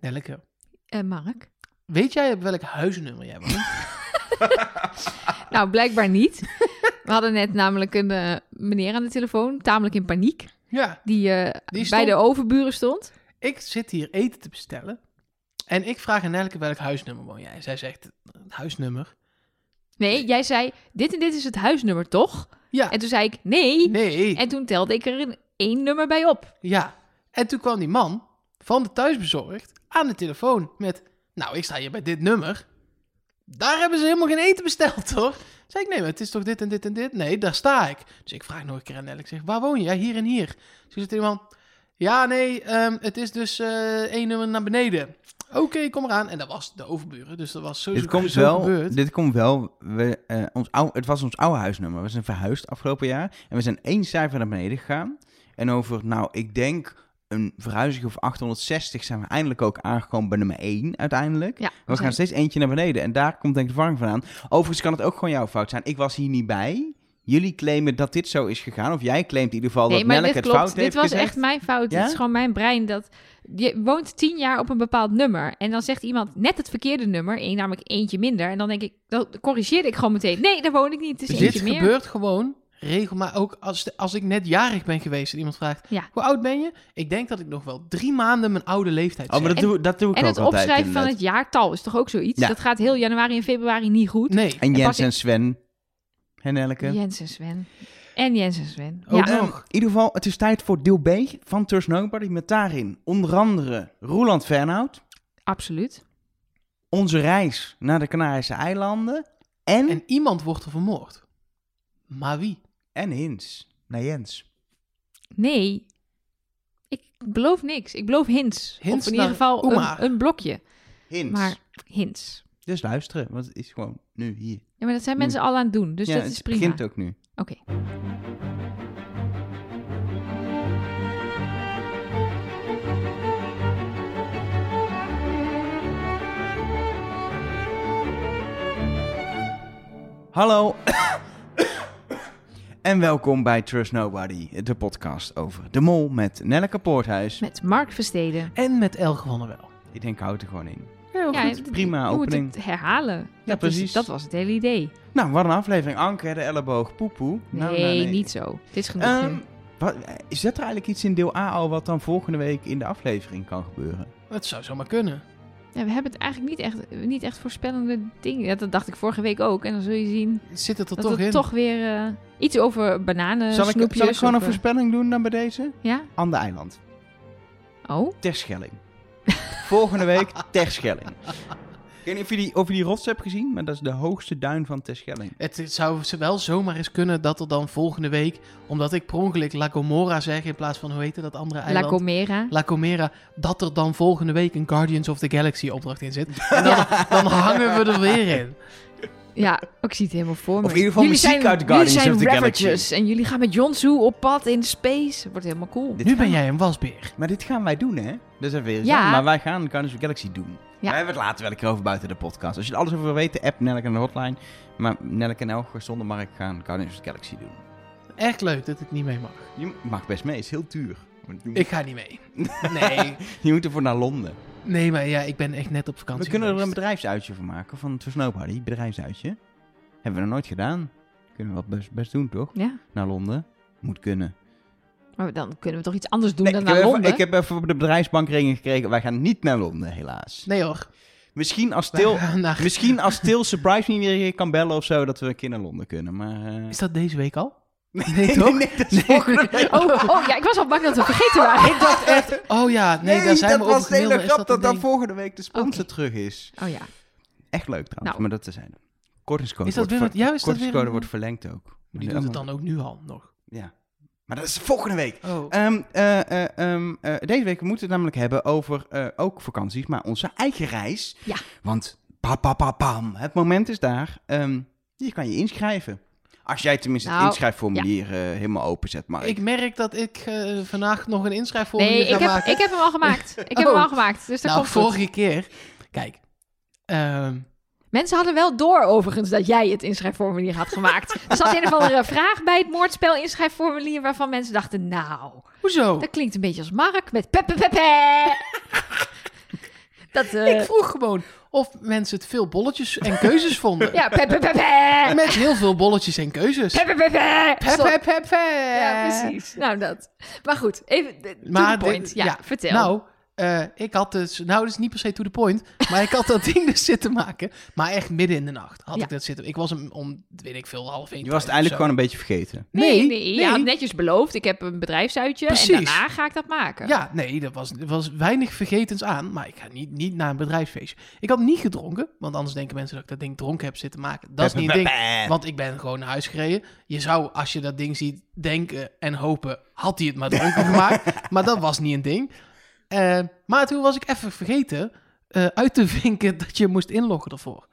Nelleke, En Eh, Mark? weet jij op welk huisnummer jij woont? Nou, blijkbaar niet. We hadden net namelijk een eh, meneer aan de telefoon, tamelijk in paniek, ja, die, eh, Die stond- bij de overburen stond. ik zit hier eten te bestellen. En ik vraag aan Nelleke welk huisnummer woon jij? Zij zegt, eh, het huisnummer? Nee, jij zei, dit en dit is het huisnummer, toch? Ja, En toen zei ik, nee. nee, En toen telde ik er een één nummer bij op. ja. En toen kwam die man van de thuisbezorgd aan de telefoon met... Nou, ik sta hier bij dit nummer. Daar hebben ze helemaal geen eten besteld, hoor. Zei ik, nee, maar het is toch dit en dit en dit? Nee, daar sta ik. Dus ik vraag nog een keer aan Nelleke, ik zeg, waar woon jij? Hier en hier. Toen zegt die man, ja, nee, ehm, het is dus eh, één nummer naar beneden. Oké, kom eraan. En dat was de overburen, dus dat was sowieso Dit komt zo wel, gebeurd. dit komt wel we, eh, ons oude, het was ons oude huisnummer. We zijn verhuisd afgelopen jaar en we zijn één cijfer naar beneden gegaan. En over, nou, ik denk een verhuizing of 860 zijn we eindelijk ook aangekomen bij nummer 1 uiteindelijk. Ja, We gaan zijn- steeds eentje naar beneden en daar komt denk ik de verwarring vandaan. Overigens kan het ook gewoon jouw fout zijn. Ik was hier niet bij. Jullie claimen dat dit zo is gegaan. Of jij claimt in ieder geval Nee, dat maar Melk dit het klopt. fout dit heeft was gezegd. echt mijn fout. Ja? Dit is gewoon mijn brein. Dat, je woont tien jaar op een bepaald nummer. En dan zegt iemand net het verkeerde nummer. één- namelijk eentje minder. En dan denk ik, dan corrigeer ik gewoon meteen. Nee, daar woon ik niet. Het is Dus eentje dit meer. gebeurt gewoon regelmatig. Ook als, als ik net jarig ben geweest en iemand vraagt... Ja. Hoe oud ben je? Ik denk dat ik nog wel drie maanden mijn oude leeftijd Oh, maar zeg. dat, doe, dat doe ik En ook het altijd. opschrijven van inderdaad. het jaartal is toch ook zoiets? Ja. Dat gaat heel januari en februari niet goed. Nee. En en Jens pas in- en Sven. En Elke. Jens en Sven. En Jens en Sven. Oh, Ook ja. nog. In ieder geval, het is tijd voor deel B van Trust Nobody. Met daarin onder andere Roland Fernhout, Absoluut. onze reis naar de Canarische eilanden en, en, En iemand wordt er vermoord. Maar wie? Hins naar Jens. Nee. Ik beloof niks. Ik beloof hints. Hints of in naar ieder geval Oema. een, een blokje. Hins. Maar hints. Dus luisteren, want het is gewoon nu hier. Ja, maar dat zijn Nu. mensen al aan het doen. Dus Hm. ja, dat het is prima. begint ook nu. Oké. Hallo en welkom bij Trust Nobody, de podcast over de mol met Nelleke Poorthuis. Met Mark Versteden. En met Elge van der Wel. Ik denk, houd er gewoon in. Heel Ja, goed. d- prima je opening. moet het herhalen. Ja, precies. dat was het hele idee. Nou, wat een aflevering. Anker, de elleboog, poepoe. Nee, Nou, niet zo. Het is genoeg. Ehm, nu. wat, is dat er eigenlijk iets in deel A al wat dan volgende week in de aflevering kan Eh, gebeuren? Het zou zomaar kunnen. Ja, we hebben het eigenlijk niet echt, niet echt voorspellende dingen. Ja, dat dacht ik vorige week ook. En dan zul je zien Het zit er toch dat toch het in. toch weer eh, iets over bananen, zal, ik, snoepjes. zal ik gewoon een of, eh, voorspelling doen dan bij deze? Ja? Aan de eiland. Oh? Terschelling. volgende week Terschelling. Ik weet niet of je, die, of je die rots hebt gezien, maar dat is de hoogste duin van Terschelling. Het, het zou ze wel zomaar eens kunnen dat er dan volgende week... Omdat ik per ongeluk La Gomora zeg in plaats van, hoe heette dat andere La eiland? Comera. La Comera, dat er dan volgende week een Guardians of the Galaxy opdracht in zit. En dan, dan hangen we er weer in. Ja, oh, ik zie het helemaal voor me. Of in ieder geval muziek zijn, uit Guardians jullie zijn of the Galaxy. Ravagers En jullie gaan met Jonsu op pad in space. Het wordt helemaal cool. Nu Dit gaan ben we- jij een wasbeer. Maar dit gaan wij doen, hè? Dat is even weer Ja. ja. Maar wij gaan Guardians of the Galaxy doen. Ja. Wij hebben het later wel een keer over buiten de podcast. Als je er alles over wil weten, app Nelk en de hotline. Maar Nelk en Elger zonder Mark gaan Guardians of the Galaxy doen. Echt leuk dat ik niet mee mag. Je mag best mee, is heel duur. Want je moet- Ik ga niet mee. Nee. Je moet ervoor naar Londen. Nee, maar ja, ik ben echt net op vakantie We kunnen er een geweest. bedrijfsuitje van maken, van het Snowbody, bedrijfsuitje. Hebben we nog nooit gedaan. Kunnen we dat best, best doen, toch? Ja, Naar Londen. Moet kunnen. maar dan kunnen we toch iets anders doen Nee, dan ik, heb naar even, Londen. ik heb even op de bedrijfsbankringen gekregen. Wij gaan niet naar Londen, helaas. Nee hoor. Misschien als Wij Til, gaan naar- misschien als Til Surprise me weer kan bellen of zo, dat we een keer naar Londen kunnen. Maar eh, Is dat deze week al? Nee, toch? nee, dat is volgende week. Oh, oh, ja, ik was al bang dat we vergeten waren. ik dacht echt... Oh ja, nee, Nee, daar zijn dat we was over de hele gemaild. Is grap dat dat dan een ding? volgende week de sponsor Oké. terug is. Oh ja. Echt leuk trouwens, Nou. maar dat te zijn. Kortingscode Is dat wordt weer wat- ver- ja, is dat weer kortingscode een- wordt verlengd ook. Die doet het dan ook nu al nog. Ja. Maar dat is volgende week. Oh. Ehm, eh, eh, ehm, eh, deze week moeten we het namelijk hebben over eh, ook vakanties, maar onze eigen reis. Ja. Want pa, pa, pa, pam, het moment is daar. Ehm, je kan je inschrijven. Als jij tenminste Nou, het inschrijfformulier eh, helemaal openzet. Maar Ik merk dat ik eh, vandaag nog een inschrijfformulier Nee, ga ik heb, maken. ik heb hem al gemaakt. Ik heb Oh. hem al gemaakt. Dus dat nou, komt goed. vorige keer. Kijk. ehm, Mensen hadden wel door overigens dat jij het inschrijfformulier had gemaakt. er zat een of andere vraag bij het moordspel inschrijfformulier waarvan mensen dachten, nou, hoezo? dat klinkt een beetje als Mark met pepe pepe. Dat, eh, Ik vroeg gewoon of mensen het veel bolletjes en keuzes vonden. Ja, pe, pe, pe, pe. Met heel veel bolletjes en keuzes. Pe, pe, pe, pe. Pep, Stop. pep, pep, pep. Ja, precies. Nou, dat. Maar goed, even eh, to Maar the point. dit- ja, ja. vertel. Nou, eh, ik had dus... Nou, dat is niet per se to the point. Maar ik had dat ding dus zitten maken. Maar echt midden in de nacht had Ja. ik dat zitten. Ik was hem om, weet ik veel, half één Je was het thuis eigenlijk of zo. gewoon een beetje vergeten. nee, nee, Je nee. had netjes beloofd, ik heb een bedrijfsuitje en Precies. daarna ga ik dat maken. Ja, nee, er was, er was weinig vergetens aan. Maar ik ga niet, niet naar een bedrijfsfeestje. Ik had niet gedronken. Want anders denken mensen dat ik dat ding dronken heb zitten maken. Dat is niet een ding. Want ik ben gewoon naar huis gereden. Je zou, als je dat ding ziet, denken en hopen... had hij het maar dronken gemaakt. Maar dat was niet een ding. Eh, maar toen was ik even vergeten eh, uit te vinken dat je moest inloggen ervoor.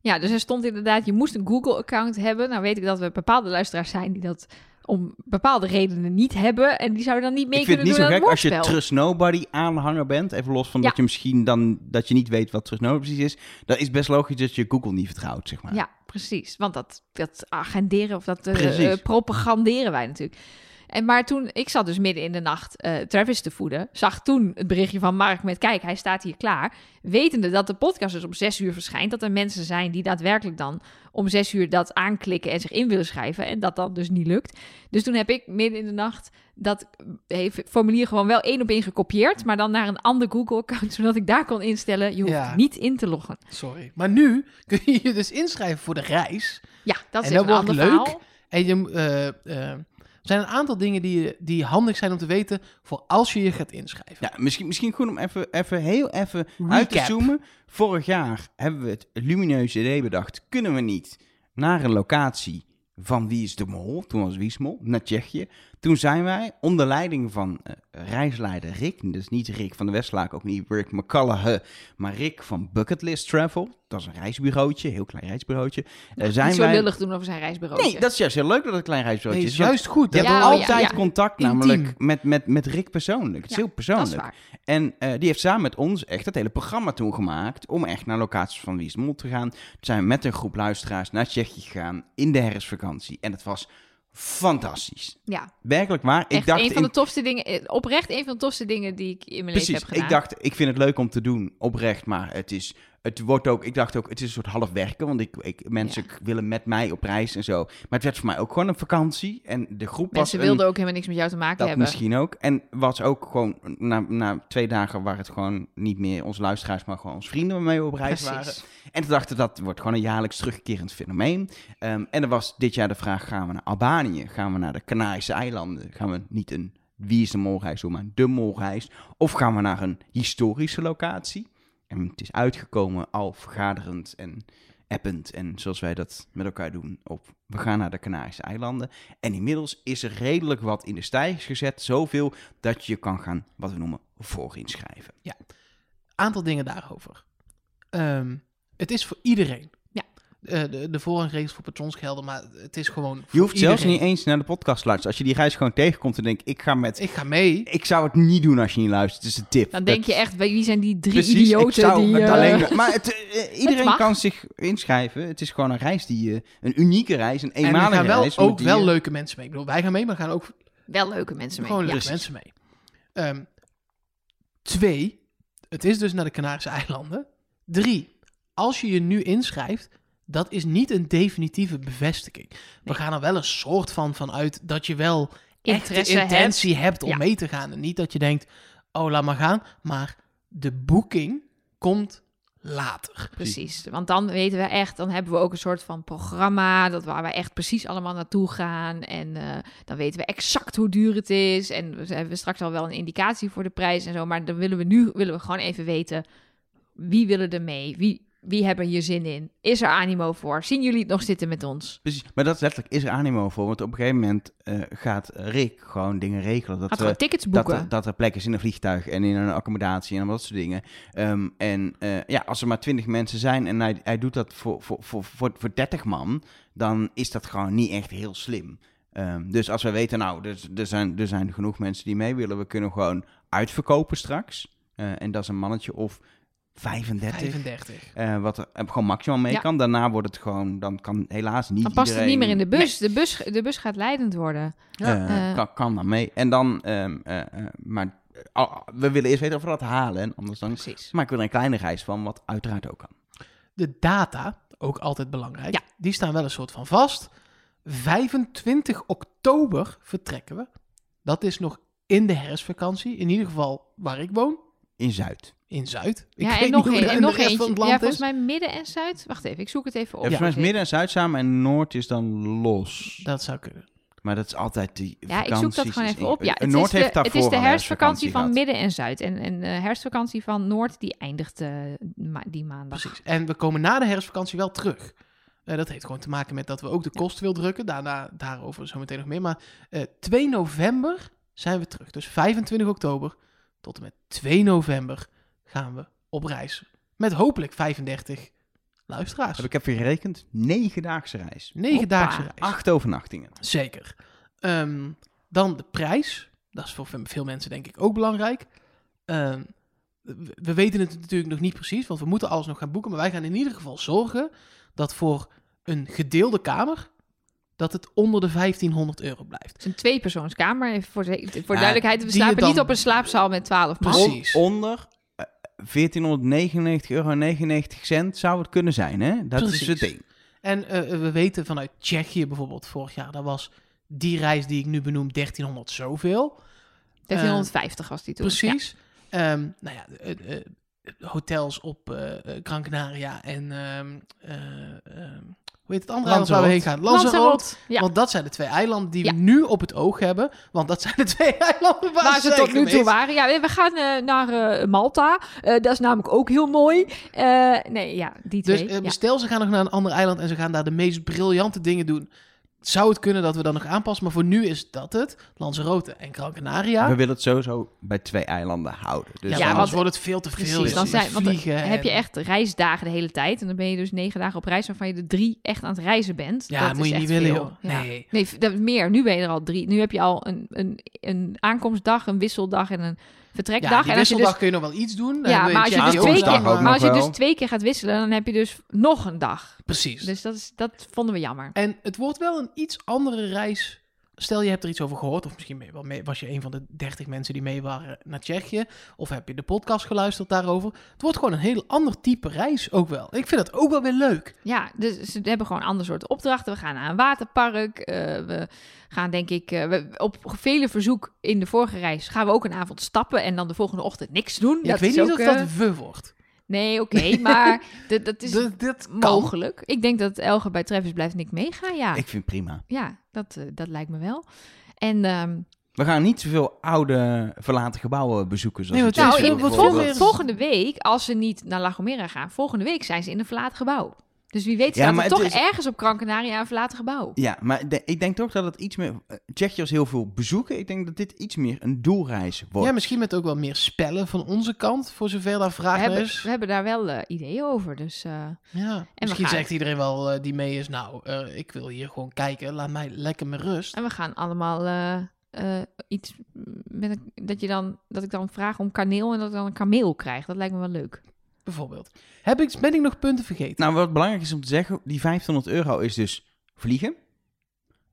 Ja, dus er stond inderdaad, je moest een Google-account hebben. Nou weet ik dat we bepaalde luisteraars zijn die dat om bepaalde redenen niet hebben. En die zouden dan niet mee ik vind kunnen het niet doen zo aan gek als je woordspel. Trust Nobody aanhanger bent. Even los van Ja. dat je misschien dan dat je niet weet wat Trust Nobody precies is. Dan is best logisch dat je Google niet vertrouwt, zeg maar. Ja, precies. Want dat, dat agenderen of dat eh, Precies. eh, propaganderen wij natuurlijk. En, maar toen, ik zat dus midden in de nacht eh, Travis te voeden, zag toen het berichtje van Mark met, kijk, hij staat hier klaar. Wetende dat de podcast dus om zes uur verschijnt, dat er mensen zijn die daadwerkelijk dan om zes uur dat aanklikken en zich in willen schrijven. En dat dat dus niet lukt. Dus toen heb ik midden in de nacht dat eh, formulier gewoon wel één op één gekopieerd, maar dan naar een ander Google-account, zodat ik daar kon instellen, je hoeft Ja. niet in te loggen. Sorry. Maar nu kun je je dus inschrijven voor de reis. Ja, dat is En dat even een wordt ander leuk. verhaal. En je, eh, eh, er zijn een aantal dingen die, die handig zijn om te weten... voor als je je gaat inschrijven. Ja, misschien, misschien goed om even, even heel even Recap. uit te zoomen. Vorig jaar hebben we het lumineuze idee bedacht. Kunnen we niet naar een locatie van Wie is de Mol? Toen was Wie is de Mol, naar Tsjechië. Toen zijn wij onder leiding van eh, reisleider Rick. Dus niet Rick van de Westlaak, ook niet Rick McCallaghan. Maar Rick van Bucketlist Travel. Dat is een reisbureautje, heel klein reisbureautje. Eh, zijn niet zo wij... lullig doen over zijn reisbureau. Nee, dat is juist heel leuk dat het een klein reisbureautje Nee, is. is want juist goed. je Dat Ja, hebt we oh altijd- altijd ja. contact Intiem. namelijk met, met, met Rick persoonlijk. Het Ja, is heel dat is persoonlijk. waar. En eh, die heeft samen met ons echt het hele programma toen gemaakt. Om echt naar locaties van Wie is de Mol te gaan. Toen zijn we met een groep luisteraars naar Tsjechië gegaan. In de herfstvakantie. En het was fantastisch. Ja, Werkelijk waar. echt ik dacht een van de in- tofste dingen, eh, oprecht een van de tofste dingen die ik in mijn Precies. leven heb gedaan. Ik dacht, ik vind het leuk om te doen. Oprecht. Maar het is. Het wordt ook, ik dacht ook, het is een soort half werken, want ik, ik, mensen willen met mij op reis en zo. Maar het werd voor mij ook gewoon een vakantie. En de groep was Mensen een- wilden ook helemaal niks met jou te maken Dat hebben. misschien ook. En was ook gewoon na, na twee dagen waar het gewoon niet meer onze luisteraars, maar gewoon onze vrienden waarmee we op reis waren. Precies. En toen dachten we, dat wordt gewoon een jaarlijks terugkerend fenomeen. Ehm, en er was dit jaar de vraag, gaan we naar Albanië? Gaan we naar de Canarische eilanden? Gaan we niet een wie is de molreis doen, maar de molreis? Of gaan we naar een historische locatie? En het is uitgekomen al vergaderend en append en zoals wij dat met elkaar doen op we gaan naar de Canarische eilanden. En inmiddels is er redelijk wat in de stijgers gezet, zoveel dat je kan gaan wat we noemen voorinschrijven. aantal dingen daarover. Ehm, het is voor iedereen. Ja. Eh, de, de voorrangregels voor patrons gelden, maar het is gewoon Je voor hoeft zelfs iedereen. niet eens naar de podcast te luisteren. Als je die reis gewoon tegenkomt en denkt ik ga met Ik ga mee. ik zou het niet doen als je niet luistert. Het is een tip. Dan denk je Dat- echt, wie zijn die drie Precies, idioten ik zou die... het eh, alleen, maar het, eh, eh, iedereen mag. kan zich inschrijven. Het is gewoon een reis die je een unieke reis, een en er eenmalige gaan wel, reis. ook wel leuk. leuke mensen mee. Ik bedoel, wij gaan mee, maar er gaan ook Wel leuke mensen mee. gewoon ja. leuke mensen mee. Ehm, twee, het is dus naar de Canarische eilanden. Drie, als je je nu inschrijft, dat is niet een definitieve bevestiging. We Nee. gaan er wel een soort van van uit dat je wel Interesse echte hebt. intentie hebt om Ja. mee te gaan. En niet dat je denkt, oh, laat maar gaan. Maar de boeking komt later. Precies, want dan weten we echt, dan hebben we ook een soort van programma, dat waar we echt precies allemaal naartoe gaan. En eh, dan weten we exact hoe duur het is. En we hebben straks al wel een indicatie voor de prijs en zo. Maar dan willen we nu willen we gewoon even weten, wie willen er mee? Wie, wie hebben hier zin in? Is er animo voor? Zien jullie het nog zitten met ons? Precies, maar dat is letterlijk is er animo voor. Want op een gegeven moment eh, gaat Rick gewoon dingen regelen. Dat, eh, Gaat we- gewoon tickets dat, boeken. er, dat er plek is in een vliegtuig en in een accommodatie en dat soort dingen. Ehm, en eh, ja, als er maar twintig mensen zijn en hij, hij doet dat voor, voor, voor, voor, voor 30 man, dan is dat gewoon niet echt heel slim. Ehm, dus als we weten, nou, er, er, zijn, er zijn genoeg mensen die mee willen, we kunnen gewoon uitverkopen straks. Eh, en dat is een mannetje of 35. 35. eh, wat er eh, gewoon maximaal mee Ja. kan. Daarna wordt het gewoon, dan kan helaas niet dan past het niet iedereen- meer in de bus. De, bus. de bus gaat leidend worden. Ja. Eh, Eh. kan, kan dan mee. En dan, ehm, eh, eh, maar ah, we willen eerst weten of we dat halen. En anders dan Precies. maken we er een kleine reis van, wat uiteraard ook kan. De data, ook altijd belangrijk, Ja. die staan wel een soort van vast. 25 oktober vertrekken we. Dat is nog in de herfstvakantie, in ieder geval waar ik woon, In Zuid. in Zuid. Ik ja, weet en niet nog, hoe een- dat en in de nog rest eentje. van het ja, land volgens is. mij midden en zuid. Wacht even, ik zoek het even op. Ja, volgens mij is midden en Zuid samen en Noord is dan los. Dat zou kunnen. Maar dat is altijd die Ja, ik zoek dat vakanties gewoon is even in- eh, op. Ja, het, Noord is de, heeft daarvoor het is de al herfstvakantie van gehad. midden en zuid. En, en eh, de herfstvakantie van noord, die eindigt eh, ma- die maandag. Precies. En we komen na de herfstvakantie wel terug. Eh, dat heeft gewoon te maken met dat we ook de kost wil drukken. Daarna, daarover zo meteen nog meer. Maar eh, 2 november zijn we terug. Dus 25 oktober tot en met 2 november gaan we op reis. Met hopelijk 35 luisteraars. Heb ik even gerekend? Negendaagse reis. Negendaagse Hoppa. reis. Acht overnachtingen. Zeker. Ehm, dan de prijs. Dat is voor ve- veel mensen denk ik ook belangrijk. Ehm, we- we weten het natuurlijk nog niet precies, want we moeten alles nog gaan boeken. Maar wij gaan in ieder geval zorgen dat voor een gedeelde kamer, dat het onder de 1500 euro blijft. Het is een tweepersoonskamer. Even voor, de- voor Ja, duidelijkheid, we die je slapen dan- niet op een slaapzaal met 12 man. Precies. On- onder eh, 1499,99 euro cent zou het kunnen zijn, hè? Dat Precies. is het ding. En eh, we weten vanuit Tsjechië bijvoorbeeld vorig jaar, daar was die reis die ik nu benoem 1300 zoveel. 1350 was die toen. Precies. Ehm, nou ja, eh, eh, hotels op eh eh, Gran Canaria en ehm, eh, ehm, hoe heet het andere eiland waar we Lanzarote. heen gaan? Ja. Lanzarote. Lanzarote. Ja. Want dat zijn de twee eilanden die Ja. we nu op het oog hebben. Want dat zijn de twee eilanden waar, Waar ze ze tot nu toe waren. waren. Ja, we gaan eh, naar eh, Malta. Eh, dat is namelijk ook heel mooi. Eh, nee, ja, die Dus twee. eh, ja. stel, ze gaan nog naar een ander eiland en ze gaan daar de meest briljante dingen doen. Zou het kunnen dat we dat nog aanpassen, maar voor nu is dat het. Lanzarote en Gran Canaria. We willen het sowieso bij twee eilanden houden. ja, Ja, Dus want want- anders wordt het veel te Precies, veel. dan joh. zijn, want dan Vliegen heb je en- echt reisdagen de hele tijd. En dan ben je dus negen dagen op reis, waarvan je de drie echt aan het reizen bent. Ja, is moet je echt niet willen, veel. joh. Ja. Nee. Nee, v- dat, meer. Nu ben je er al drie. Nu heb je al een, een, een aankomstdag, een wisseldag en een vertrekdag. Ja, die en als je wisseldag dus, kun je nog wel iets doen. Dan ja, wil maar als je, dus Tsjechië ook twee nog keer, aankomstdag samen- ook maar als je nog dus wel. twee keer gaat wisselen, dan heb je dus nog een dag. Precies. Dus dat, is, dat vonden we jammer. En het wordt wel een iets andere reis. Stel, je hebt er iets over gehoord, of misschien mee- wel mee- was je een van de 30 mensen die mee waren naar Tsjechië. Of heb je de podcast geluisterd daarover. Het wordt gewoon een heel ander type reis ook wel. Ik vind dat ook wel weer leuk. Ja, dus ze hebben gewoon ander soort opdrachten. We gaan naar een waterpark. eh, we gaan denk ik eh, we, op vele verzoek in de vorige reis gaan we ook een avond stappen en dan de volgende ochtend niks doen. Ja, ik weet is niet ook, of eh, dat we wordt. Nee, oké, maar dat, dat is D- dit kan. mogelijk. Ik denk dat Elge bij Travis blijft en ik meega. Ja, Ik vind het prima. ja dat, eh, dat lijkt me wel. En ehm, We gaan niet zoveel oude verlaten gebouwen bezoeken. Zoals Nee, het want nou, is Travis in, wil bijvoorbeeld. bijvoorbeeld- volgende, volgende week, als ze niet naar La Gomera gaan, volgende week zijn ze in een verlaten gebouw. Dus wie weet Ja, staat maar er het toch is- ergens op Gran Canaria een verlaten gebouw. Ja, maar de- ik denk toch dat het iets meer... eh, Tsjechië is heel veel bezoeken. Ik denk dat dit iets meer een doelreis wordt. Ja, misschien met ook wel meer spellen van onze kant, voor zover daar We vraag naar hebben, is. we hebben daar wel eh, ideeën over, dus... eh, Ja. we Misschien gaan- zegt iedereen wel eh, die mee is, nou, eh, ik wil hier gewoon kijken, laat mij lekker mijn rust. En we gaan allemaal eh, eh, iets met een- dat je dan dat ik dan vraag om kaneel en dat ik dan een kameel krijg. Dat lijkt me wel leuk. Bijvoorbeeld. Heb ik, ben ik nog punten vergeten? Nou, wat belangrijk is om te zeggen, die 500 euro is dus vliegen,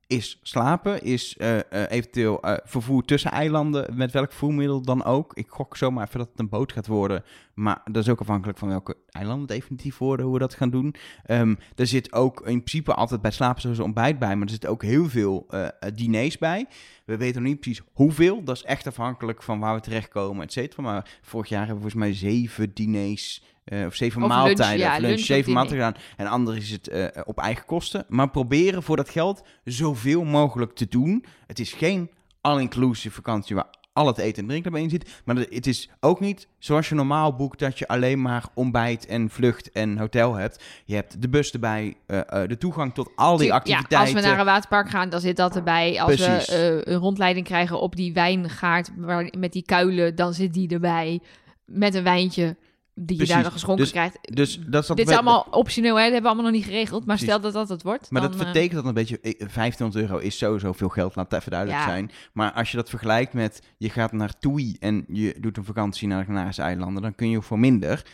is slapen, is eh, eh, eventueel eh, vervoer tussen eilanden, met welk vervoermiddel dan ook. Ik gok zomaar even dat het een boot gaat worden, maar dat is ook afhankelijk van welke eilanden het definitief worden, hoe we dat gaan doen. Ehm er zit ook in principe altijd bij slapen sowieso ontbijt bij, maar er zit ook heel veel eh, eh, diners bij. We weten nog niet precies hoeveel, dat is echt afhankelijk van waar we terechtkomen, et cetera. Maar vorig jaar hebben we volgens mij zeven diners... eh, of zeven Of lunch, maaltijden, ja, of lunch lunch, of zeven diner. maaltijden gedaan. En ander is het eh, op eigen kosten. Maar proberen voor dat geld zoveel mogelijk te doen. Het is geen all-inclusive vakantie waar al het eten en drinken erbij in zit. Maar het is ook niet zoals je normaal boekt dat je alleen maar ontbijt en vlucht en hotel hebt. Je hebt de bus erbij, eh, eh, de toegang tot al die Tuur- activiteiten. Ja, als we naar een waterpark gaan, dan zit dat erbij. Als Precies. we eh, een rondleiding krijgen op die wijngaard waar, met die kuilen, dan zit die erbij met een wijntje die je daar Precies. nog geschonken Dus krijgt. Dus dat is, dat Dit is we- allemaal optioneel, hè? dat hebben we allemaal nog niet geregeld. Maar Precies. stel dat dat het wordt. Maar dan, dat eh, betekent dat een beetje, eh, 1500 euro is sowieso veel geld, laat het even duidelijk Ja. zijn. Maar als je dat vergelijkt met, je gaat naar Tui en je doet een vakantie naar de Canarische eilanden, dan kun je voor minder.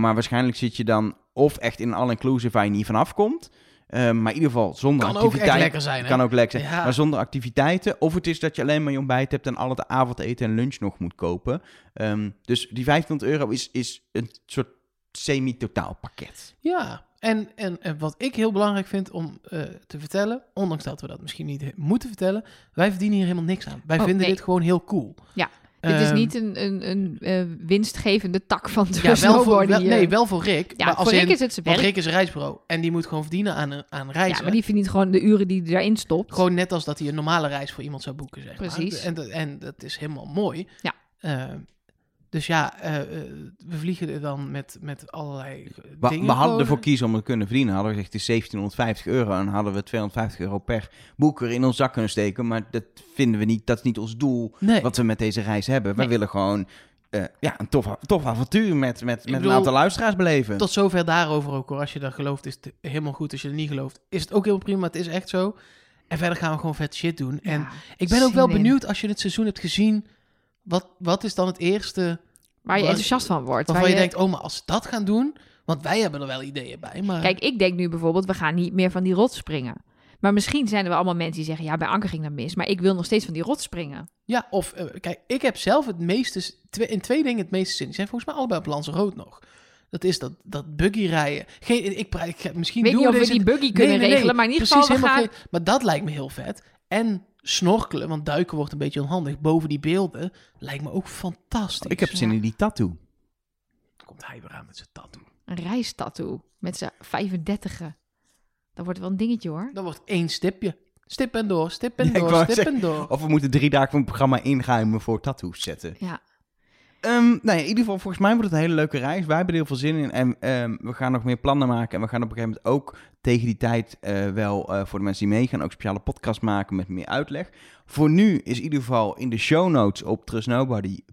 Maar waarschijnlijk zit je dan of echt in een all-inclusive waar je niet vanaf komt, Eh, maar in ieder geval zonder Kan ook echt activiteit. lekker zijn, hè? kan ook lekker zijn. Ja. Maar zonder activiteiten. Of het is dat je alleen maar je ontbijt hebt en al het avondeten en lunch nog moet kopen. Ehm, dus die 1500 euro is, is een soort semi-totaal pakket. Ja, en, en, en wat ik heel belangrijk vind om eh, te vertellen, ondanks dat we dat misschien niet he- moeten vertellen, wij verdienen hier helemaal niks aan. Wij Oh, vinden nee. dit gewoon heel cool. Ja, Dit is Ehm, niet een, een, een eh, winstgevende tak van de ja, wel voor, snowboarden wel, hier. nee, wel voor Rick. ja, maar als voor Rick in- is het zijn want werk. Rick is een reisbureau en die moet gewoon verdienen aan, aan reizen. Ja, maar die verdient gewoon de uren die hij daarin stopt. Gewoon net als dat hij een normale reis voor iemand zou boeken, zeg Precies. maar. En, dat- en dat is helemaal mooi. Ja. Eh, dus ja, eh, eh, we vliegen er dan met, met allerlei eh, We, dingen we hadden gewoon. ervoor kiezen om het te kunnen verdienen. Hadden we gezegd, het is 1750 euro. En hadden we 250 euro per boeker in ons zak kunnen steken. Maar dat vinden we niet. Dat is niet ons doel. Nee, Wat we met deze reis hebben. We Nee. willen gewoon eh, ja, een tof, tof avontuur met, met, met bedoel, een aantal luisteraars beleven. tot zover daarover ook hoor. Als je daar gelooft is het helemaal goed. Als je er niet gelooft is het ook helemaal prima. Het is echt zo. En verder gaan we gewoon vet shit doen. En Ja, ik ben ook wel zin in. benieuwd als je het seizoen hebt gezien. Wat, wat is dan het eerste Waar je waar- enthousiast van wordt. waarvan waar je, denkt... Oh, maar als ze dat gaan doen... Want wij hebben er wel ideeën bij, maar... Kijk, ik denk nu bijvoorbeeld, we gaan niet meer van die rots springen. Maar misschien zijn er wel allemaal mensen die zeggen, ja, bij Anker ging dat mis. Maar ik wil nog steeds van die rots springen. Ja, of eh, kijk, ik heb zelf het meeste, s- twee, in twee dingen het meeste zin. Die zijn volgens mij allebei op Lanzarote nog. Dat is dat, dat buggy rijden. Geen, ik, pra- ik, ga- misschien Ik weet doen niet of we deze- die buggy Nee, kunnen nee, nee, regelen, maar in ieder precies, geval, we helemaal gaan... geen- maar dat lijkt me heel vet. En snorkelen, want duiken wordt een beetje onhandig boven die beelden. Lijkt me ook fantastisch. ik heb zin ja. in die tattoo. Komt hij weer aan met zijn tattoo. Een reistattoo met z'n 35 Dat wordt wel een dingetje, hoor. Dan wordt één stipje. Stip en door, stip en Ja, ik door, wou stip zeggen, en door. Of we moeten drie dagen van het programma inruimen voor tattoos zetten. Ja. Ehm, nou ja, in ieder geval, volgens mij wordt het een hele leuke reis. Wij hebben er heel veel zin in. En ehm, we gaan nog meer plannen maken. En we gaan op een gegeven moment ook tegen die tijd eh, wel eh, voor de mensen die meegaan... ook speciale podcast maken met meer uitleg. Voor nu is in ieder geval in de show notes op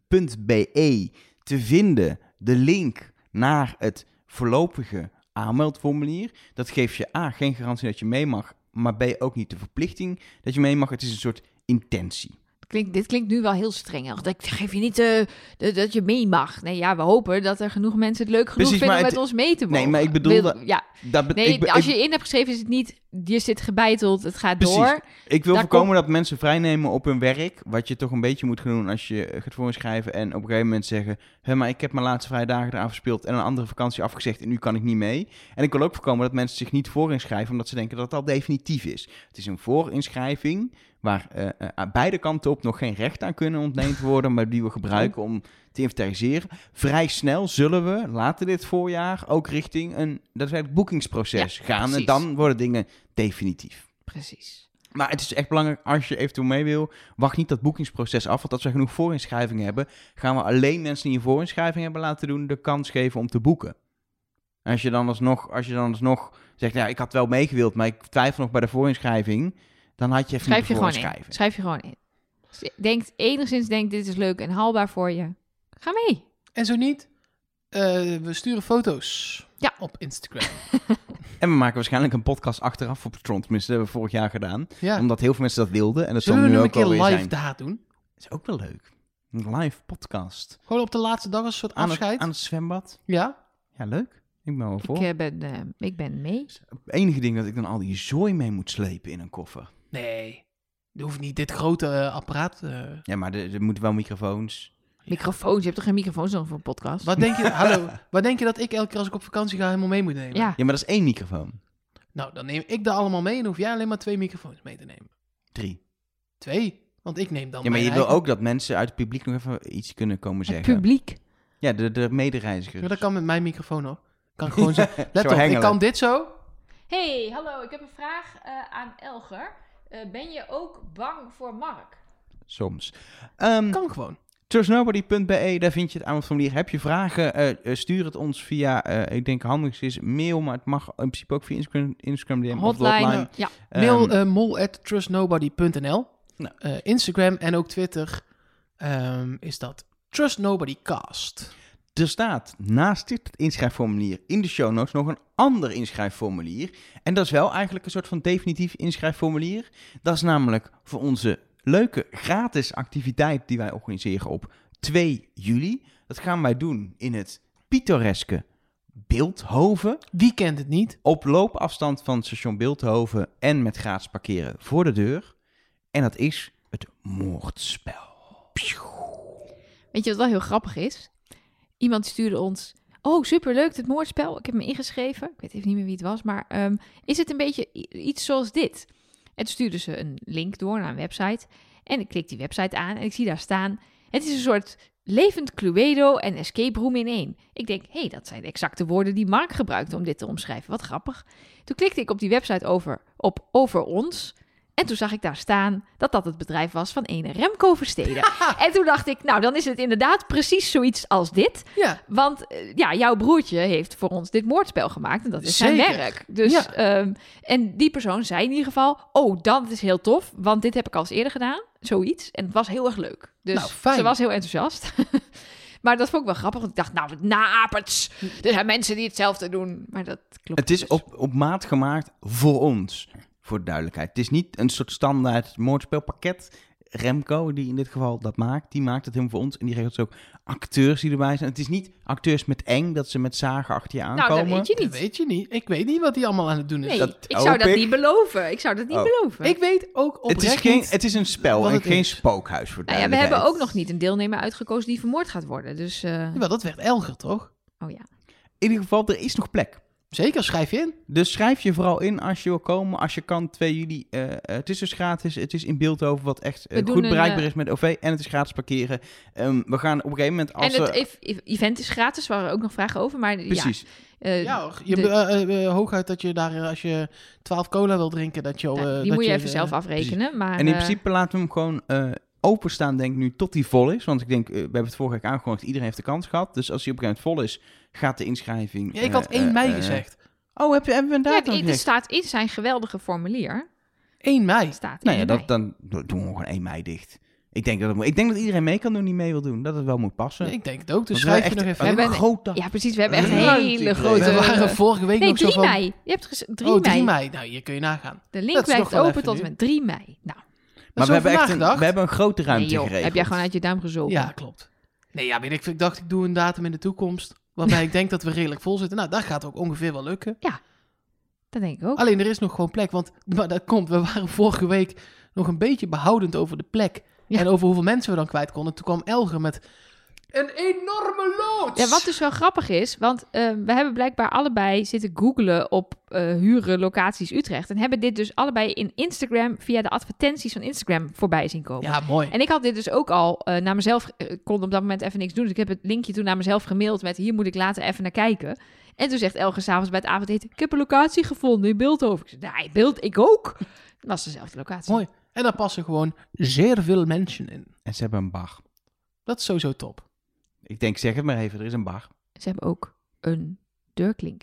trustnobody.be te vinden de link naar het voorlopige aanmeldformulier. Dat geeft je A, geen garantie dat je mee mag, maar B, ook niet de verplichting dat je mee mag. Het is een soort intentie. Klinkt, dit klinkt nu wel heel streng. Ach, Ik geef je niet eh, dat- dat je mee mag. Nee, ja, we hopen dat er genoeg mensen het leuk genoeg Precies, vinden maar om met het- ons mee te mogen. Nee, maar ik bedoel dat- Ja, Dat be- nee, ik be- als ik- je in hebt geschreven is het niet... Je zit gebeiteld, het gaat Precies. door. Ik wil Daar voorkomen dat mensen vrijnemen op hun werk. Wat je toch een beetje moet gaan doen als je eh, gaat voorschrijven. En op een gegeven moment zeggen: Hé, maar ik heb mijn laatste vrije dagen eraan verspeeld. En een andere vakantie afgezegd. En nu kan ik niet mee. En ik wil ook voorkomen dat mensen zich niet voorinschrijven. Omdat ze denken dat het al definitief is. Het is een voorinschrijving. Waar eh, eh, aan beide kanten op nog geen recht aan kunnen ontleend worden. Maar die we gebruiken om te inventariseren. Vrij snel zullen we later dit voorjaar ook richting een daadwerkelijk boekingsproces Ja, gaan. En precies. dan worden dingen definitief. Precies. Maar het is echt belangrijk, als je eventueel mee wil, wacht niet dat boekingsproces af. Want als we genoeg voorinschrijvingen hebben, gaan we alleen mensen die een voorinschrijving hebben laten doen, de kans geven om te boeken. En als je dan alsnog, als je dan alsnog zegt, ja, ik had wel meegewild, maar ik twijfel nog bij de voorinschrijving, dan had je even Schrijf je moeten gewoon in. voorinschrijven. Schrijf je gewoon in. Als je Denkt, enigszins denkt, dit is leuk en haalbaar voor je. Ga mee. En zo niet, eh, we sturen foto's Ja. op Instagram. En we maken waarschijnlijk een podcast achteraf op Patreon. Tenminste, dat hebben we vorig jaar gedaan. Ja. Omdat heel veel mensen dat wilden. En dat Zullen zal we nu nu een ook keer alweer live zijn. Dat daar doen? is ook wel leuk. Een live podcast. Gewoon op de laatste dag als een soort Aan het, afscheid? aan het zwembad. Ja? Ja, leuk. Ik ben wel voor. Ik, eh, ben, eh, ik ben mee. Het enige ding dat ik dan al die zooi mee moet slepen in een koffer. Nee. Je hoeft niet dit grote eh, apparaat... eh. Ja, maar er, er moeten wel microfoons. Microfoons. Je hebt toch geen microfoons dan voor een podcast? Wat denk je... Hallo. Wat denk je dat ik elke keer als ik op vakantie ga helemaal mee moet nemen? Ja. Ja, maar dat is één microfoon. Nou, dan neem ik daar allemaal mee en hoef jij alleen maar twee microfoons mee te nemen. Drie. Twee. Want ik neem dan Ja, maar Oh, mijn je wil eigen- ook dat mensen uit het publiek nog even iets kunnen komen Het zeggen. publiek. Ja, de, de Ja, medereizigers. dat kan met mijn microfoon hoor. Kan ik gewoon zo... Let op, ik dus. hengelen. kan dit zo. Hey, hallo. Ik heb een vraag eh, aan Elger. Eh, ben je ook bang voor Mark? Soms. Ehm Kan gewoon. Trustnobody.be, daar vind je het aanbodformulier. Heb je vragen, eh, eh, stuur het ons via, eh, ik denk handigst is mail, maar het mag in principe ook via Instagram, Instagram DM of de Hotline. hotline. Ja. Ehm, Mail eh mol at trustnobody.nl. Nou. Eh, Instagram en ook Twitter ehm, is dat trustnobodycast. Er staat naast dit inschrijfformulier in de show notes nog een ander inschrijfformulier. En dat is wel eigenlijk een soort van definitief inschrijfformulier. Dat is namelijk voor onze leuke gratis activiteit die wij organiseren op 2 juli. Dat gaan wij doen in het pittoreske Beeldhoven. Wie kent het niet? Op loopafstand van het station Beeldhoven en met gratis parkeren voor de deur. En dat is het moordspel. Weet je wat wel heel grappig is? Iemand stuurde ons... Oh, superleuk, dit moordspel. Ik heb me ingeschreven. Ik weet even niet meer wie het was, maar... ehm, is het een beetje i- iets zoals dit? En toen stuurden ze een link door naar een website. En ik klik die website aan en ik zie daar staan... Het is een soort levend Cluedo en escape room in één. Ik denk, hé, hey, dat zijn exact de woorden die Mark gebruikte om dit te omschrijven. Wat grappig. Toen klikte ik op die website over, op Over Ons... En toen zag ik daar staan dat dat het bedrijf was van ene Remco Versteden. En toen dacht ik, nou, dan is het inderdaad precies zoiets als dit. Ja. Want eh, ja, jouw broertje heeft voor ons dit moordspel gemaakt. En dat is zijn Zeker. werk. Dus, Ja. ehm, en die persoon zei in ieder geval... oh, dat is heel tof, want dit heb ik al eens eerder gedaan. Zoiets. En het was heel erg leuk. Dus Nou, fijn. ze was heel enthousiast. maar dat vond ik wel grappig. Want ik dacht, nou, naaperts. Er zijn mensen die hetzelfde doen. Maar dat klopt Het is dus. op, op maat gemaakt voor ons, voor de duidelijkheid. Het is niet een soort standaard moordspelpakket. Remco, die in dit geval dat maakt, die maakt het helemaal voor ons. En die regelt dus ook acteurs die erbij zijn. Het is niet acteurs met eng, dat ze met zagen achter je Nou, aankomen. dat weet je Dat niet. weet je niet. Ik weet niet wat die allemaal aan het doen is. Nee, dat ik zou hoop dat ik. niet beloven. Ik zou dat niet Oh. beloven. Ik weet ook Het oprecht is, geen, niet. het is een spel wat en het geen is. spookhuis voor de Nou ja, we hebben ook duidelijkheid. nog niet een deelnemer uitgekozen die vermoord gaat worden. Dus, eh, Jawel, dat werd Elger, toch? oh ja. In ieder geval, er is nog plek. Zeker, schrijf je in. Dus schrijf je vooral in als je wil komen. Als je kan, 2 juli. eh, eh, het is dus gratis. Het is in Beeldhoven, wat echt eh, We doen goed een, bereikbaar eh, is met OV. En het is gratis parkeren. Ehm, we gaan op een gegeven moment... Als en het we- ev- ev- event is gratis, waar we ook nog vragen over. Maar Precies. ja, eh, Ja hoor. Je, de- eh, eh, eh, hooguit dat je daar, eh, als je 12 cola wil drinken, dat je... al, nou, eh, die dat moet je even eh, zelf afrekenen. Maar, En eh, in principe laten we hem gewoon eh, openstaan, denk ik nu, tot hij vol is. Want ik denk, eh, we hebben het vorige week aangekondigd, iedereen heeft de kans gehad. Dus als hij op een gegeven moment vol is, gaat de inschrijving... Ja, ik eh, had 1 eh, mei eh, gezegd. Oh, heb je, hebben we ja, een datum eh, het- het gezegd? staat in zijn geweldige formulier. 1 mei. Staat Nou ja, in dat, dan do- doen we gewoon 1 mei dicht. Ik denk, dat het moet- ik denk dat iedereen mee kan doen die mee wil doen. Dat het wel moet passen. Ik denk het ook, dus Want we schrijf je hebben nog echt even We in. hebben een grote... Ja, precies. We hebben echt Ruimte hele idee. grote... We waren vorige week nee, nog zo 3 van... mei. Je hebt gezegd 3 Oh, 3 mei. mei. Nou, hier kun je nagaan. De link Dat is blijft nog wel open even tot en nu. met 3 mei. Nou, Maar we hebben, echt een, gedacht. we hebben een grote ruimte nee, joh, geregeld. heb jij gewoon uit je duim gezogen. Ja, klopt. Nee, ja, weet ik, veel. ik dacht ik doe een datum in de toekomst, waarbij ik denk dat we redelijk vol zitten. Nou, dat gaat ook ongeveer wel lukken. Dat denk ik ook. Alleen er is nog gewoon plek, want maar dat komt. We waren vorige week nog een beetje behoudend over de plek Ja. en over hoeveel mensen we dan kwijt konden. Toen kwam Elger met een enorme loods. Ja, wat dus wel grappig is, want eh, we hebben blijkbaar allebei zitten googlen op eh, huren locaties Utrecht. En hebben dit dus allebei in Instagram via de advertenties van Instagram voorbij zien komen. Ja, mooi. En ik had dit dus ook al eh, naar mezelf, eh, ik kon op dat moment even niks doen. Dus ik heb het linkje toen naar mezelf gemaild met hier moet ik later even naar kijken. En toen zegt Elge s'avonds bij het avondeten, ik heb een locatie gevonden in Beeldhoven. Ik zei, nee, Beeld, ik ook. Het was dezelfde locatie. Mooi. En daar passen gewoon zeer veel mensen in. En ze hebben een bar. Dat is sowieso top. Ik denk, zeg het maar even, er is een bar. Ze hebben ook een deurklink.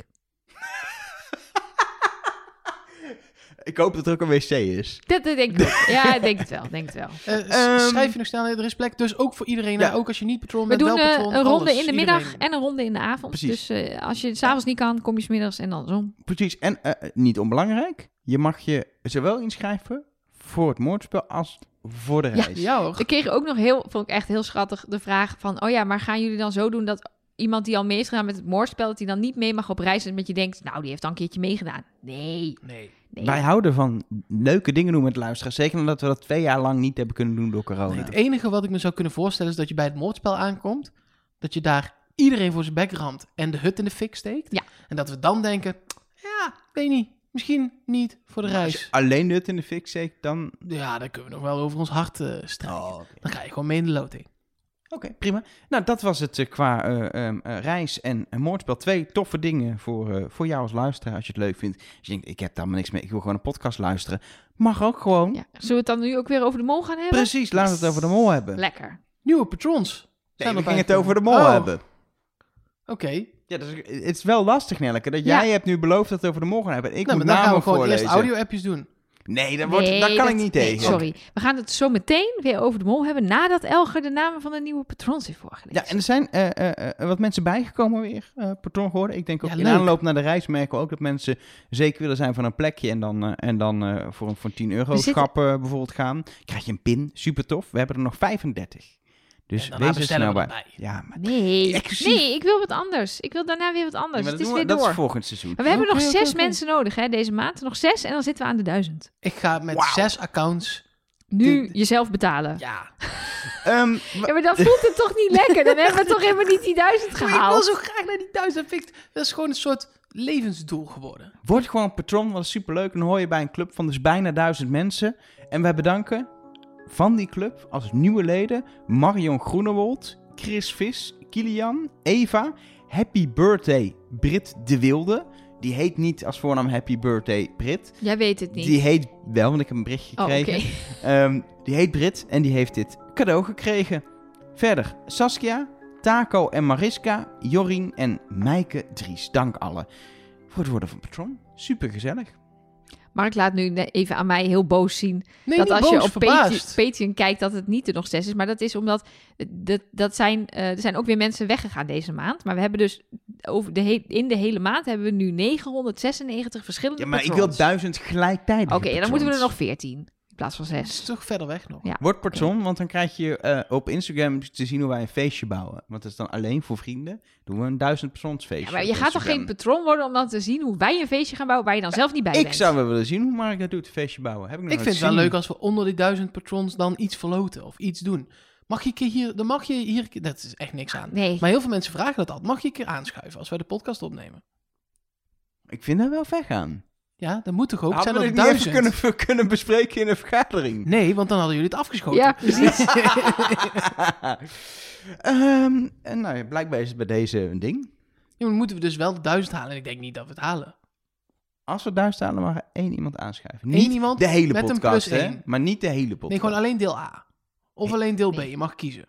Ik hoop dat er ook een wc is. Dat dat denk ik ook. Ja, ik denk het wel, denk het wel. Eh, s- Ehm, schrijf je nog snel in, er is plek. Dus ook voor iedereen, Ja. hè, ook als je niet patroon We bent, doen wel eh, patroon. een alles, ronde in de iedereen. middag en een ronde in de avond. Precies. Dus eh, als je s'avonds niet kan, kom je smiddags en dan zon. Precies. En eh, niet onbelangrijk, je mag je zowel inschrijven voor het moordspel als voor de Ja. reis. Ja hoor. Ik kreeg ook nog heel, vond ik echt heel schattig, de vraag van... Oh ja, maar gaan jullie dan zo doen dat iemand die al mee is gedaan met het moordspel... dat die dan niet mee mag op reis en dat je denkt... Nou, die heeft dan een keertje meegedaan. Nee, Nee. nee. Wij houden van leuke dingen doen met luisteraars. Zeker omdat we dat twee jaar lang niet hebben kunnen doen door corona. Nee, Het enige wat ik me zou kunnen voorstellen is dat je bij het moordspel aankomt. Dat je daar iedereen voor zijn bek ramt en de hut in de fik steekt. Ja. En dat we dan denken, ja, weet niet, misschien niet voor de Als je reis. alleen dit in de fik steekt, dan... Ja, dan kunnen we nog wel over ons hart eh strijden. Oh, oké. Dan ga je gewoon mee in de loting. Oké, prima. Nou, dat was het eh, qua eh, ehm, eh, reis en en moordspel. Twee toffe dingen voor, eh, voor jou als luisteraar, als je het leuk vindt. Als je denkt, ik heb daar maar niks mee, ik wil gewoon een podcast luisteren. Mag ook gewoon. Ja. Zullen we het dan nu ook weer over de mol gaan hebben? Precies, laten we het over de mol hebben. Lekker. Nieuwe patrons. Nee, zijn we erbij gingen het gekomen. over de mol Oh, hebben. Oké, Ja, dus het is wel lastig, Nelleke, dat Ja. jij hebt nu beloofd dat we het over de mol gaan hebben. Ik nou, maar moet dan gaan namen we gewoon voorlezen. eerst audio-appjes doen. Nee, dat, wordt, Nee, dat kan dat- ik niet nee, tegen. sorry. We gaan het zo meteen weer over de mol hebben... nadat Elger de namen van de nieuwe patrons heeft voorgelezen. Ja, en er zijn eh, eh, eh, wat mensen bijgekomen weer, eh patroon geworden. Ik denk ook Ja, in leuk. aanloop naar de reis merken we ook dat mensen zeker willen zijn van een plekje en dan, eh, en dan eh, voor een voor 10 euro We zitten- schap eh, bijvoorbeeld gaan. Krijg je een pin, super tof. We hebben er nog 35. Dus daarna wees er bestellen snel we bij. erbij. Ja, maar, Nee, Exclusief. nee, ik wil wat anders. Ik wil daarna weer wat Ja, maar anders. dat, het is doen we- weer dat door. is volgend seizoen. Maar we hebben Oké, nog oké, zes oké. mensen nodig hè, deze maand. Nog zes en dan zitten we aan de duizend. Ik ga met Wauw. zes accounts. Nu Dit- jezelf betalen. Ja. Ja. Ehm, maar dan voelt het toch niet lekker. Dan hebben we toch helemaal niet die duizend Maar ik wil gehaald. zo graag naar die duizend fikt. Dat is gewoon een soort levensdoel geworden. word gewoon patron, want dat is superleuk. En dan hoor je bij een club van dus bijna duizend mensen. En wij bedanken van die club als nieuwe leden Marion Groenewold, Chris Vis, Kilian, Eva, Happy Birthday Brit de Wilde. Die heet niet als voornaam Happy Birthday Brit. Jij weet het niet. Die heet wel, want ik heb een berichtje Oh, oké. gekregen. Ehm, die heet Brit en die heeft dit cadeau gekregen. Verder Saskia, Taco en Mariska, Jorien en Mijke Dries. Dank allen voor het worden van Patron. Super gezellig. Mark laat nu ne- even aan mij heel boos zien. Nee, dat niet als boos, je op Patreon, verbaasd. Patreon kijkt, dat het niet de nog zes is. Maar dat is omdat dat, dat zijn, eh, er zijn ook weer mensen weggegaan deze maand. Maar we hebben dus over de he- in de hele maand hebben we nu 996 verschillende Ja, maar ik wil patrons. duizend gelijktijdig. Oké, ja, dan moeten we er nog 14 in plaats van Het 6. is toch verder weg nog. Ja. Word Patron, want dan krijg je eh, op Instagram te zien hoe wij een feestje bouwen. Want dat is dan alleen voor vrienden. Doen we een duizend patrons feestje. Ja, maar je op gaat toch geen Instagram. patron worden om dan te zien hoe wij een feestje gaan bouwen waar je dan zelf niet bij Ik bent? zou wel willen zien hoe Mark dat doet, feestje bouwen. Heb ik nog Ik nooit vind het wel gezien. leuk als we onder die duizend patrons dan iets verloten of iets doen. Mag je een keer hier, dan mag je hier, een keer- dat is echt niks aan. Nee. Maar heel veel mensen vragen dat al. Mag je een keer aanschuiven als wij de podcast opnemen? Ik vind dat wel ver gaan. Ja, dat moet toch ook? Het Hadden zijn we er dit niet duizend. even kunnen, we kunnen bespreken in een vergadering? Nee, want dan hadden jullie het afgeschoten. Ja, precies. Ehm, en nou, ja, blijkbaar is het bij deze een ding. Ja, maar dan moeten we dus wel de duizend halen. En ik denk niet dat we het halen. Als we daar staan, dan mag er één iemand aanschuiven. Eén Niet iemand de hele met een podcast, plus hè? één. Maar niet de hele podcast. Nee, gewoon alleen deel A. Of Nee. alleen deel B. Nee. Je mag kiezen.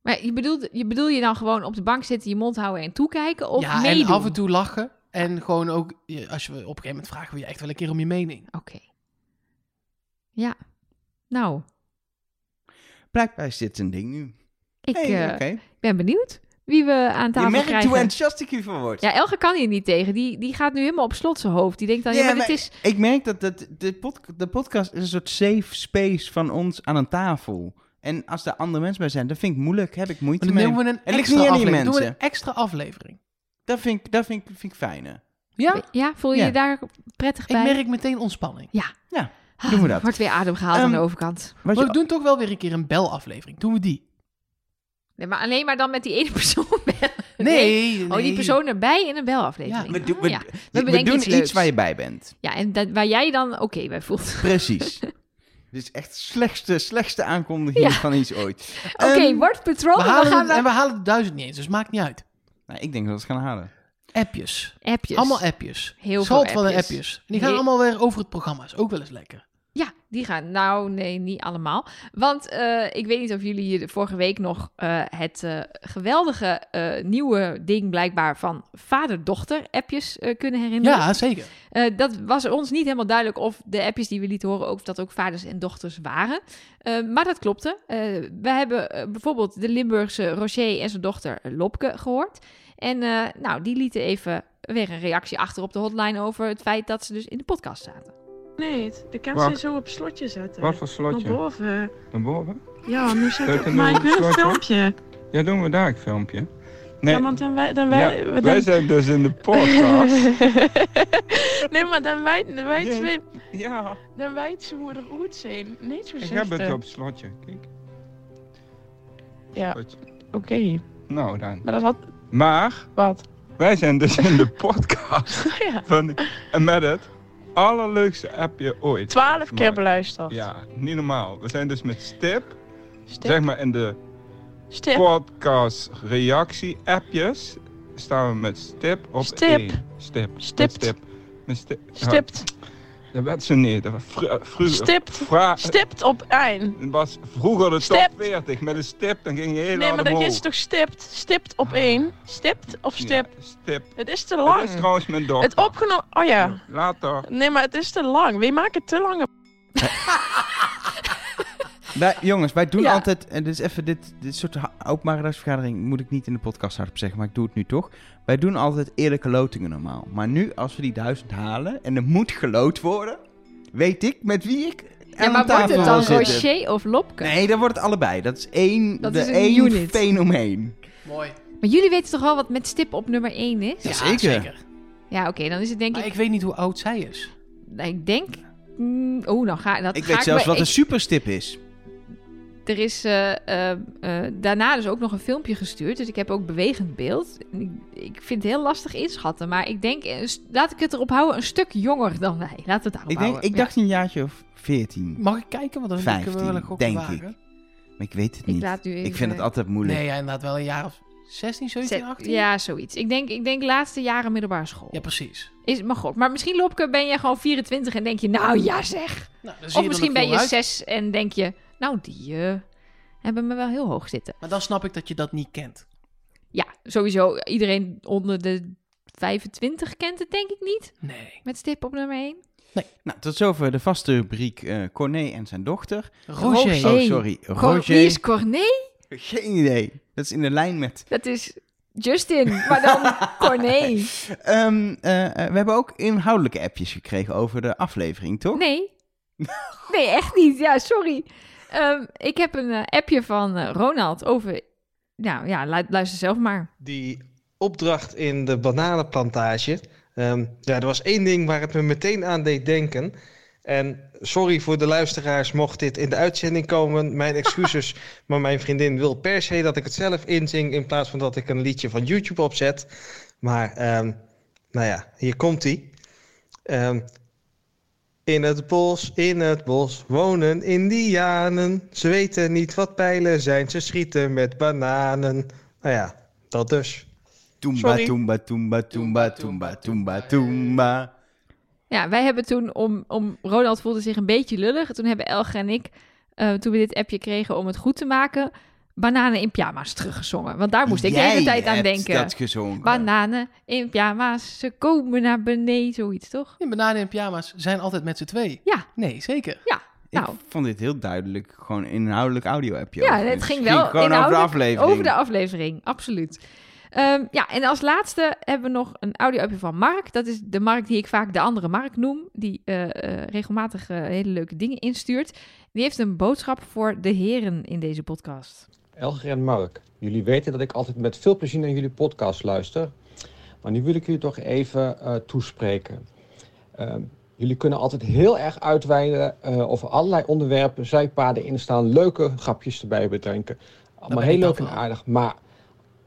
Maar je bedoelt, je bedoel je dan gewoon op de bank zitten, je mond houden en toekijken of ja, meedoen? en af en toe lachen. En gewoon ook, je- als je op een gegeven moment vragen we je echt wel een keer om je mening. Oké. Ja. Nou, Blijkbaar is dit een ding nu. ik Hey, eh, oké. ben benieuwd wie we aan Je tafel merkt krijgen. hoe enthousiast ik hiervan word. ja, Elger kan hier niet tegen. Die, die gaat nu helemaal op slot zijn hoofd. Die denkt dan, ja, Ja, maar, maar- dit is... Ik merk dat dat de, pod- de podcast is een soort safe space van ons aan een tafel. En als er andere mensen bij zijn, dat vind ik moeilijk. Heb ik moeite Maar dan mee. doen we een Het ligt extra niet aan die aflevering. Doen we een mensen. extra aflevering. Dat vind ik, dat vind ik, vind ik fijner. Ja? Ja, voel je Ja. je daar prettig Ik bij? merk meteen ontspanning. Ah, doen we dat. Wordt weer adem gehaald aan Ehm, de overkant. Wat Maar je we doen toch wel weer een keer een belaflevering. Doen we die? Nee, maar alleen maar dan met die ene persoon bellen. Nee. Oh, die nee. persoon erbij in een belaflevering. Ja, we, doen- Ah, we, ja. we bedenken doen iets iets, leuks. waar je bij bent. Ja, en dat, waar jij dan oké bij voelt. Precies. Dit is echt slechtste, slechtste aankondiging Ja. van iets ooit. Oké, Ehm, word patron We en dan halen gaan het- en Oh, we... we halen de duizend niet eens, dus maakt niet uit. nou, ik denk dat we het gaan halen. Appjes. Appjes. Allemaal appjes. Heel Schalt veel van de appjes. appjes. En die gaan Heel- allemaal weer over het programma. Is ook wel eens lekker. Ja, die gaan. Nou, nee, niet allemaal. Want eh, ik weet niet of jullie hier de vorige week nog eh, het eh, geweldige eh, nieuwe ding blijkbaar van vader-dochter appjes eh, kunnen herinneren. Ja, zeker. Eh, dat was ons niet helemaal duidelijk of de appjes die we lieten horen ook of dat ook vaders en dochters waren. Eh, maar dat klopte. Eh, we hebben eh, bijvoorbeeld de Limburgse Rocher en zijn dochter Lopke gehoord. En eh, nou, die lieten even weer een reactie achter op de hotline over het feit dat ze dus in de podcast zaten. Nee, de kaas Wacht. zijn zo op slotje zetten. Wat voor slotje? Naar boven. Naar boven? Ja, nu zet Leuk, ik... dan Maar doen ik we wil een slotje. filmpje. Ja, doen we daar een filmpje. Nee, Ja, want dan wij... Dan ja, wij, wij dan... zijn dus in de podcast. nee, maar dan wij... Dan wij Nee. twee... ja, Dan wij twee moeten goed zijn. Niet zo ik zitten. heb het op slotje. Kijk. eh. Ja, Goed. oké. Nou dan. Maar dat had... Maar Wat? wij zijn dus in de podcast. ja. Van, en met het allerleukste appje ooit. Twaalf keer Maar- beluisterd. Ja, niet normaal. We zijn dus met Stip, Stip. zeg maar in de Stip. podcast reactie appjes, staan we met Stip op Stip. één. Stip. Met Stipt. Stip. Met Stip. Ja, Stipt. dat werd zo niet. Dat was vro- vroeger. Stipt. Vra- Stipt op één. Het was vroeger de top Stipt. 40 met een stip, dan ging je Nee, heel hard maar dat omhoog. is toch stipt? Stipt op één. Stipt of stip? Ja, stip. Het is te Dat is lang. trouwens mijn dochter. Het opgenomen... Oh ja. Later. Nee, maar het is te lang. Wie maakt het te lang? Wij, jongens, wij doen Ja. altijd, en dus even dit, dit soort ha- openbare raadsvergadering moet ik niet in de podcast hardop zeggen, maar ik doe het nu toch. Wij doen altijd eerlijke lotingen normaal. Maar nu, als we die duizend halen en er moet geloot worden, weet ik met wie ik Ja, maar wordt het dan Rocher of Lopke? Nee, dat wordt het allebei. Dat is één, Dat de is een één unit. fenomeen. Mooi. Maar jullie weten toch wel wat met stip op nummer 1 is? Ja, zeker. Ja, oké, dan is het denk Maar ik... ik weet niet hoe oud zij is. nou, Ik denk... mm, oh, dan ga dat Ik ga weet zelfs bij- wat een ik- superstip is. Er is eh, eh, eh, daarna dus ook nog een filmpje gestuurd. Dus ik heb ook bewegend beeld. En ik- Ik vind het heel lastig inschatten. Maar ik denk, eh, s- laat ik het erop houden, een stuk jonger dan wij. Laten we het daarop Ik, denk, houden. ik Ja. dacht een jaartje of veertien. Mag ik kijken? Want dan kunnen we wel een 15, gokje denk wagen. ik. Maar ik weet het Ik niet. laat nu even- eh, Ik vind het altijd moeilijk. Nee, ja, inderdaad wel een jaar of 16, 17, 18. Ja, zoiets. Ik denk, ik denk laatste jaren middelbare school. Ja, precies. Nou, Is, maar god, maar misschien Lopke ben je gewoon 24 en denk je, nou ja zeg. Nou, dan zie Of er misschien nog ben jong je uit. 6 en denk je, nou die eh, hebben me wel heel hoog zitten. Maar dan snap ik dat je dat niet kent. Ja, sowieso iedereen onder de 25 kent het denk ik niet. Nee. Met stip op nummer 1. Nou, tot zover de vaste rubriek eh Corné en zijn dochter. Roger. Roger. Oh, Hey. sorry. Cor- Wie is Roger. Corné? Geen idee. Dat is in de lijn met... Dat is Justin, maar dan Corné. Ehm, eh, eh, we hebben ook inhoudelijke appjes gekregen over de aflevering, toch? Nee. Nee, echt niet. Ja, sorry. Ehm, ik heb een eh, appje van eh, Ronald over... Nou ja, lu- luister zelf maar. die opdracht in de bananenplantage. Ehm, ja, er was één ding waar het me meteen aan deed denken. En sorry voor de luisteraars mocht dit in de uitzending komen. Mijn excuses, maar mijn vriendin wil per se dat ik het zelf inzing... in plaats van dat ik een liedje van YouTube opzet. Maar ehm, nou ja, hier komt-ie. Ehm, in het bos, in het bos wonen indianen. Ze weten niet wat pijlen zijn, ze schieten met bananen. Nou ja, dat dus. Toomba, Sorry. toomba, toomba, toomba, toomba, toomba, toomba. Ja, wij hebben toen om, om Ronald voelde zich een beetje lullig. Toen hebben Elger en ik, eh, toen we dit appje kregen om het goed te maken, bananen in pyjama's teruggezongen. Want daar moest ik de Jij hele tijd aan hebt denken. nou? dat gezongen. Bananen in pyjama's, ze komen naar beneden, zoiets toch? In bananen en pyjama's zijn altijd met z'n twee. Ja. Nee, zeker. Ja, Ik nou. vond dit heel duidelijk gewoon een inhoudelijk audio-appje. Ja, over. het Dus ging wel gewoon over de inhoudelijk aflevering. Over de aflevering, absoluut. Ehm, ja, en als laatste hebben we nog een audio-appje van Mark. Dat is de Mark die ik vaak de andere Mark noem. Die eh, eh, regelmatig eh, hele leuke dingen instuurt. Die heeft een boodschap voor de heren in deze podcast. Elger en Mark, jullie weten dat ik altijd met veel plezier naar jullie podcast luister. Maar nu wil ik jullie toch even eh, toespreken. Ehm, jullie kunnen altijd heel erg uitweiden eh, over allerlei onderwerpen, zijpaden instaan, leuke grapjes erbij bedenken. ben Allemaal ik heel dan leuk en van. aardig. Maar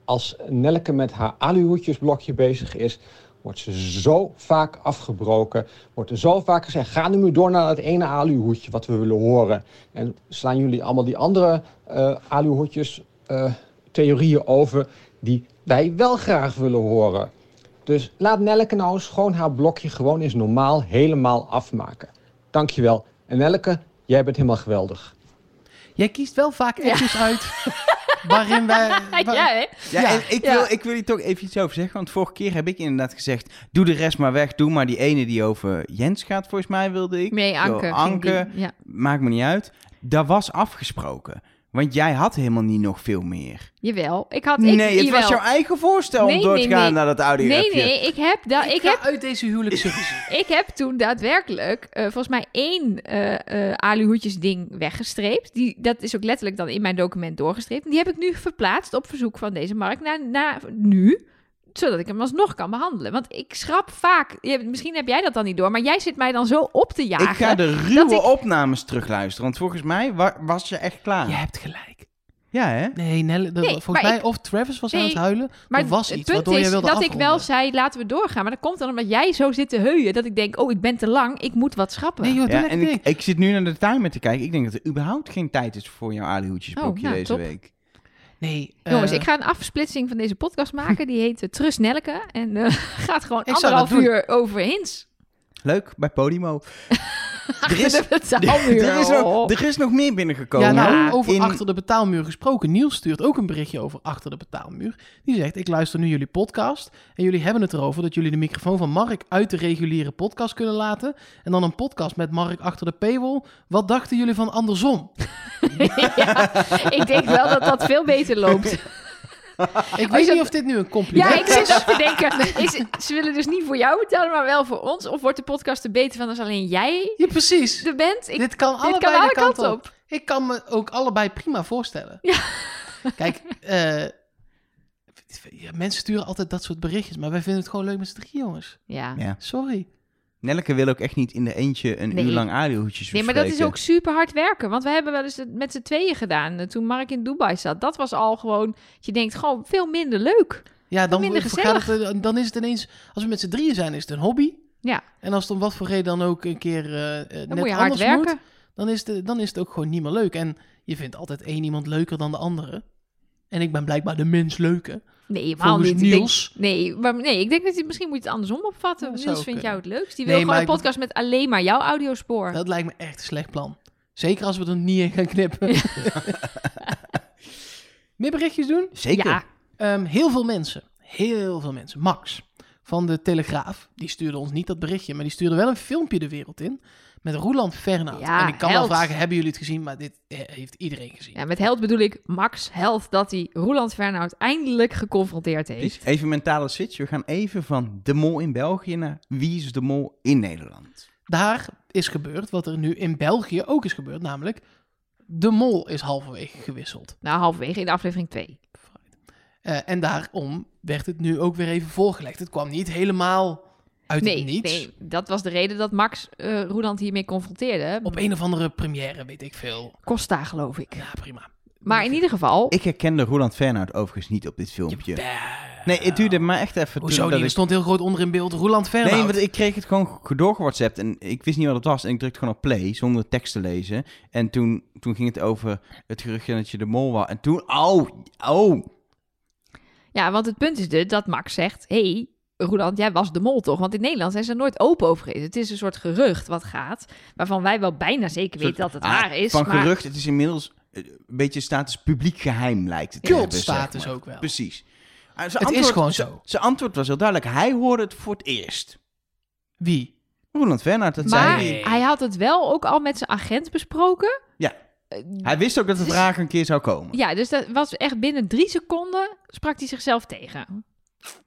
als Nelke met haar aluhoedjesblokje bezig is, wordt ze zo vaak afgebroken. Wordt er zo vaak gezegd, ga nu maar door naar het ene aluhoedje wat we willen horen. En slaan jullie allemaal die andere eh aluhoedjes eh, theorieën over die wij wel graag willen horen. Dus laat Nelke nou eens gewoon haar blokje gewoon eens normaal helemaal afmaken. Dankjewel. En Nelke, jij bent helemaal geweldig. Jij kiest wel vaak appjes uit waarin wij... waar- Ja, hè? Ja, Ja. en ik, Ja. Wil, ik wil hier toch even iets over zeggen. Want vorige keer heb ik inderdaad gezegd... doe de rest maar weg. Doe maar die ene die over Jens gaat, volgens mij wilde ik. Nee, Yo, Anke. ging Anke, die- Ja. maakt me niet uit. Dat was afgesproken. Want jij had helemaal niet nog veel meer. Jawel, ik had... Ik, nee, het was jouw eigen voorstel om Nee, door nee, te gaan nee. naar dat audio Nee, nee, ik heb, da- ik, Ik, ga heb, uit deze huwelijksruzie. ik heb toen daadwerkelijk eh, volgens mij één eh eh aluhoedjes ding weggestreept. Die, dat is ook letterlijk dan in mijn document doorgestreept. En die heb ik nu verplaatst op verzoek van deze markt naar, naar nu zodat ik hem alsnog kan behandelen. Want ik schrap vaak... je- misschien heb jij dat dan niet door... maar jij zit mij dan zo op te jagen. Ik ga de dat ruwe ik- opnames terugluisteren. Want volgens mij wa- was je echt klaar. Je Ja, hebt gelijk. hè? Nee, Nelle, dat- Ah. Nee, volgens maar mij ik- of Travis was aan Nee, het huilen. Maar er was het iets punt waardoor is jij wilde dat ik wel afronden. zei, laten we doorgaan. Maar dat komt dan omdat jij zo zit te heuien... dat ik denk, oh, ik ben te lang, ik moet wat schrappen. Nee joh, doe Ja, lekker en ding. ik, ik zit nu naar de timer te kijken. Ik denk dat er überhaupt geen tijd is voor jouw alihoedjesblokje Oh, nou, deze top. week. Nee, Jongens, eh, ik ga een afsplitsing van deze podcast maken. Die heet eh, Trust Nelke. En eh, gaat gewoon zou dat anderhalf doen. uur over hints. Leuk, bij Podimo. er, is, Achter de betaalmuur. er, is nog, er is nog meer binnengekomen. Ja, nou, Ja, over in- achter de betaalmuur gesproken. Niels stuurt ook een berichtje over achter de betaalmuur. Die zegt: Ik luister nu jullie podcast. En jullie hebben het erover dat jullie de microfoon van Mark uit de reguliere podcast kunnen laten. En dan een podcast met Mark achter de paywall. Wat dachten jullie van andersom? Ja, ik denk wel dat dat veel beter loopt. Ik weet dat- niet of dit nu een compliment Ja, ik is. zit ook te denken. Is, ze willen dus niet voor jou betalen, maar wel voor ons. Of wordt de podcast er beter van als alleen jij Ja, precies. er bent? Dus Ik, dit kan allebei dit kan alle de kant kanten op. op. Ik kan me ook allebei prima voorstellen. Ja. Kijk, eh, ja, mensen sturen altijd dat soort berichtjes, maar wij vinden het gewoon leuk met z'n drie jongens. Ja. Ja. Sorry. Nelleke wil ook echt niet in de eentje een Nee. uur lang aluhoedjes Nee, maar dat is ook super hard werken. Want we hebben wel eens het met z'n tweeën gedaan. eh, Toen Mark in Dubai zat. Dat was al gewoon. dat Je denkt gewoon veel minder leuk. Ja, dan, minder vergaat het, eh, dan is het ineens, als we met z'n drieën zijn, is het een hobby. Ja. En als het om wat voor reden dan ook een keer eh, eh, Dan net moet je hard anders moet, werken. dan is, de, dan is het ook gewoon niet meer leuk. En je vindt altijd één iemand leuker dan de andere. En ik ben blijkbaar de mens leuke. Nee, helemaal Volgens niet. Ik denk- Niels. nee, maar nee, ik denk dat je, misschien moet je het andersom opvatten. Ja, zou Niels vindt kunnen. jou het leukst. Die Nee, wil maar gewoon een ik- podcast met alleen maar jouw audiospoor. Dat lijkt me echt een slecht plan. Zeker als we er niet in gaan knippen. Meer berichtjes doen? Zeker. Ja, Ehm, heel veel mensen. Heel veel mensen. Max van de Telegraaf. Die stuurde ons niet dat berichtje, maar die stuurde wel een filmpje de wereld in. Met Roeland Fernhout. Ja, en ik kan held. wel vragen, hebben jullie het gezien? Maar dit eh, heeft iedereen gezien. ja, met held bedoel ik Max Held dat hij Roland Fernhout eindelijk geconfronteerd heeft. Dus Even mentale switch. We gaan even van de mol in België naar wie is de mol in Nederland. Daar is gebeurd wat er nu in België ook is gebeurd. Namelijk, de mol is halverwege gewisseld. Nou, halverwege in de aflevering 2. Eh, en daarom werd het nu ook weer even voorgelegd. Het kwam niet helemaal uit Nee, het niets. nee, dat was de reden dat Max eh Roeland hiermee confronteerde. Op een of andere première, weet ik veel. Costa, geloof ik. Ja, prima. Maar in ieder geval, Ik herkende Roland Fernhout overigens niet op dit filmpje. Nee, het duurde maar echt even. Hoezo toen niet? dat Er ik- stond heel groot onder in beeld Roeland Fernhout. Nee, want ik kreeg het gewoon doorgewhatsappt en ik wist niet wat het was. En ik drukte gewoon op play zonder tekst te lezen. En toen, toen ging het over het geruchtje dat je de mol was. En toen, oh, oh. ja, want het punt is dus dat Max zegt, hey, Roeland, jij was de mol toch? Want in Nederland zijn ze er nooit open over geweest. Het is een soort gerucht wat gaat, waarvan wij wel bijna zeker Soort- weten dat het ah, waar is. Van maar gerucht, het is inmiddels eh, een beetje status publiek geheim lijkt het. te Cult hebben, dus zeg status maar. ook wel. Precies. Ah, zijn Het is gewoon zijn- zo. Zijn antwoord was heel duidelijk. Hij hoorde het voor het eerst. Wie? Roland Fernhout, dat maar zei hij. Nee. hij had het wel ook al met zijn agent besproken. Ja. Eh, Hij wist ook dat de Het is- vraag een keer zou komen. Ja, dus dat was echt binnen drie seconden sprak hij zichzelf tegen.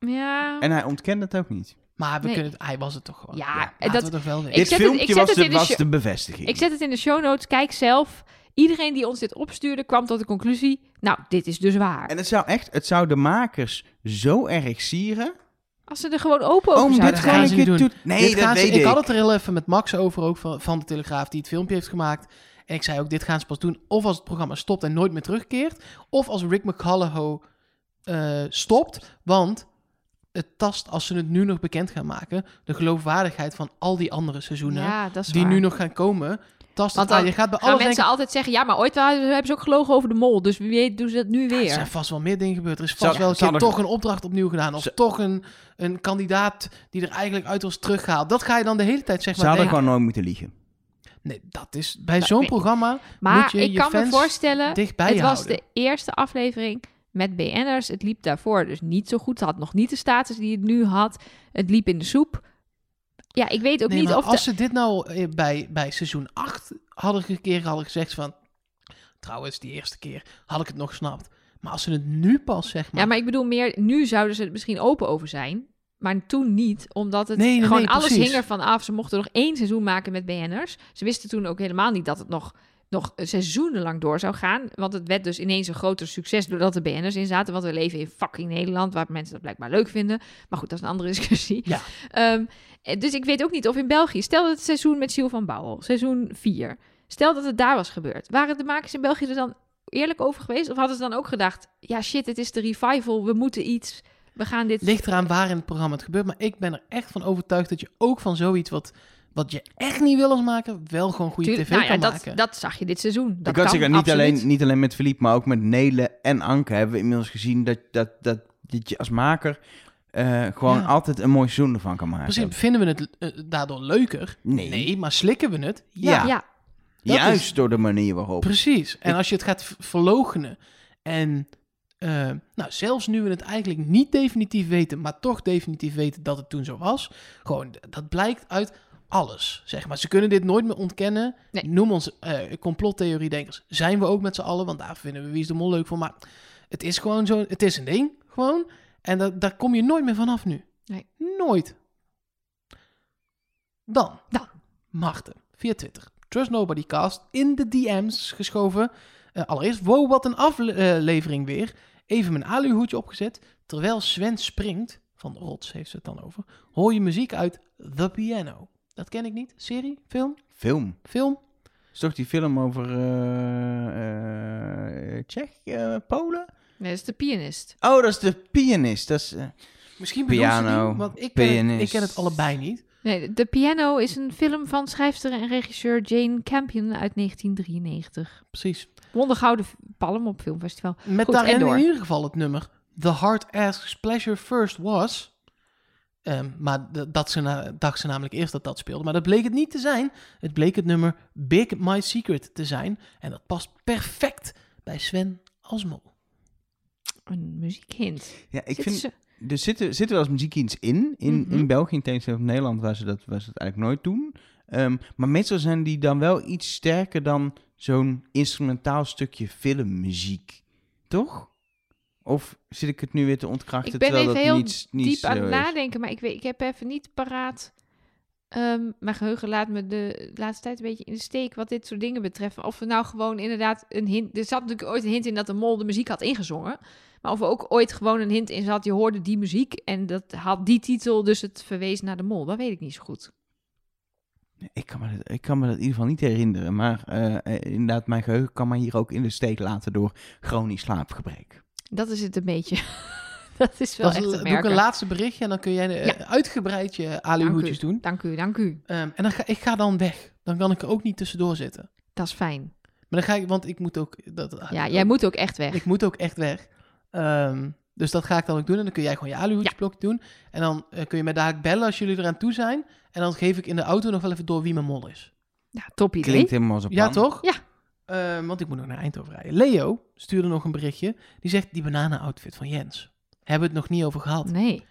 Ja, En hij ontkende het ook niet. Maar we Nee. kunnen het, hij was het toch gewoon. Ja, Laten en dat- we toch wel weten. Ik Dit zet het- ik filmpje zet was, het de, in de was show- de bevestiging. ik zet het in de show notes. Kijk zelf. Iedereen die ons dit opstuurde kwam tot de conclusie, nou, dit is dus waar. En het zou echt, het zou de makers zo erg sieren. Als ze er gewoon open over Oh, zouden dit dat gaan. gaan gaan ik ze niet het doen. doen. Nee, Dit dat gaan ze- weet ik. ik had het er heel even met Max over, ook van, van de Telegraaf, die het filmpje heeft gemaakt. En ik zei ook, dit gaan ze pas doen of als het programma stopt en nooit meer terugkeert. Of als Rick McCullough eh, stopt, want het tast, als ze het nu nog bekend gaan maken, de geloofwaardigheid van al die andere seizoenen Ja, dat is die waar. nu nog gaan komen. Tast Want het aan. dan Je gaat bij gaan alle mensen altijd zeggen, ja, maar ooit waren ze- hebben ze ook gelogen over de mol. Dus wie weet doen ze dat nu Er zijn weer. vast wel meer dingen gebeurd. Er is vast Zou- wel een zou keer er- toch een opdracht opnieuw gedaan. Of Zou- toch een, een kandidaat die er eigenlijk uit was teruggehaald. Dat ga je dan de hele tijd zeg Ze maar hadden denken. gewoon nooit moeten liegen. Nee, dat is bij zo'n nee. programma moet Maar je ik je kan me fans voorstellen, dichtbij het was houden. de eerste aflevering met BN'ers. Het liep daarvoor dus niet zo goed. Het had nog niet de status die het nu had. Het liep in de soep. Ja, ik weet ook Nee, niet maar of... als de- ze dit nou eh, bij, bij seizoen 8 hadden een keer hadden gezegd van... Trouwens, die eerste keer had ik het nog gesnapt. Maar als ze het nu pas zeg maar... Ja, maar ik bedoel meer, nu zouden ze het misschien open over zijn. Maar toen niet, omdat het Nee, nee, nee, gewoon alles precies. hing ervan af. Ze mochten nog één seizoen maken met BN'ers. Ze wisten toen ook helemaal niet dat het nog, nog seizoenenlang door zou gaan. Want het werd dus ineens een groter succes doordat er BN'ers in zaten. Want we leven in fucking Nederland, waar mensen dat blijkbaar leuk vinden. Maar goed, dat is een andere discussie. Ja. Ehm, eh, dus ik weet ook niet of in België... Stel dat het seizoen met Siel van Bouwel, seizoen 4... Stel dat het daar was gebeurd. Waren de makers in België er dan eerlijk over geweest? Of hadden ze dan ook gedacht: ja, shit, het is de revival, we moeten iets, we gaan dit. ligt eraan waar in het programma het gebeurt. Maar ik ben er echt van overtuigd dat je ook van zoiets wat, wat je echt niet wil als maken... wel gewoon goede Tuurlijk- tv nou ja, kan dat, maken. dat zag je dit seizoen. Dat ik kan zeggen, niet absoluut. alleen, niet alleen met Philippe, maar ook met Nele en Anke hebben we inmiddels gezien dat, dat, dat, dat je als maker eh, gewoon Ja. altijd een mooi seizoen ervan kan maken. Precies, vinden we het eh, daardoor leuker? Nou, Nee. maar slikken we het? Ja. Ja, dat Juist is- door de manier waarop. Precies. En Ik- als je het gaat v- verloochenen en... eh, nou, zelfs nu we het eigenlijk niet definitief weten, maar toch definitief weten dat het toen zo was. Gewoon, d- dat blijkt uit alles, zeg maar. Ze kunnen dit nooit meer ontkennen. Nee. Noem ons eh complottheoriedenkers. Zijn we ook met z'n allen, want daar vinden we Wie is de Mol leuk voor. Maar Het is gewoon zo, het is een ding, gewoon. En da- daar kom je nooit meer vanaf nu. Nee. Nooit. Dan. Dan. Maarten, via Twitter. Trust Nobody Cast in de DM's geschoven. Eh, allereerst, wow, wat een aflevering weer. Even mijn aluhoedje opgezet. Terwijl Sven springt, van Rots heeft ze het dan over, hoor je muziek uit The Piano. Dat ken ik niet. Serie? Film? Film. Film? Is toch die film over eh eh Tsjechië, Polen? Nee, dat is de pianist. Oh, dat is de pianist. Dat is, eh, Misschien bedoel ze die, Piano, want ik ken, het, ik pianist. ken het allebei niet. Nee, De Piano is een film van schrijfster en regisseur Jane Campion uit 1993. Precies. Won de Gouden Palm op Filmfestival. Met Goed, en daarin door. in ieder geval het nummer The Heart Asks Pleasure First Was. Ehm, maar d- dat ze na- dacht ze namelijk eerst dat dat speelde. Maar dat bleek het niet te zijn. Het bleek het nummer Big My Secret te zijn. En dat past perfect bij Sven Asmol. Een muziekhint. ja, ik Zit vind, ze- er zitten, zitten wel eens muziekdienst in, in, Mhm. in België, in tegenstelling tot Nederland, waar ze, dat, waar ze dat eigenlijk nooit doen. Ehm, maar meestal zijn die dan wel iets sterker dan zo'n instrumentaal stukje filmmuziek. Toch? Of zit ik het nu weer te ontkrachten, Ik ben terwijl even dat heel niet, niet Diep aan zo het is? nadenken, maar ik, weet, ik heb even niet paraat. Ehm, mijn geheugen laat me de laatste tijd een beetje in de steek wat dit soort dingen betreft. Of we nou gewoon inderdaad een hint... Er zat natuurlijk ooit een hint in dat de mol de muziek had ingezongen. Maar of er ook ooit gewoon een hint in zat, je hoorde die muziek en dat had die titel, dus het verwees naar de mol. Dat weet ik niet zo goed. Ik kan, me dat, ik kan me dat in ieder geval niet herinneren. Maar eh, eh, inderdaad, mijn geheugen kan me hier ook in de steek laten door chronisch slaapgebrek. Dat is het een beetje. dat is wel Dat is- echt te doe ik merken. een laatste berichtje en dan kun jij eh, Ja. uitgebreid je Dank aluhoedjes doen. Dank u, dank u. Ehm, en dan ga, ik ga dan weg. Dan kan ik er ook niet tussendoor zitten. Dat is fijn. Maar dan ga ik, want ik moet ook... Dat, Ja, jij moet ook echt weg. Ik moet ook echt weg. Ehm, dus dat ga ik dan ook doen. En dan kun jij gewoon je aluhoedjesblok doen. En dan eh, kun je mij daar bellen als jullie eraan toe zijn. En dan geef ik in de auto nog wel even door wie mijn mol is. Ja, top idee. Klinkt helemaal als een Ja, plan. toch? Ja. Ehm, want ik moet nog naar Eindhoven rijden. Leo stuurde nog een berichtje. Die zegt, die bananenoutfit van Jens. Hebben we het nog niet over gehad. Nee.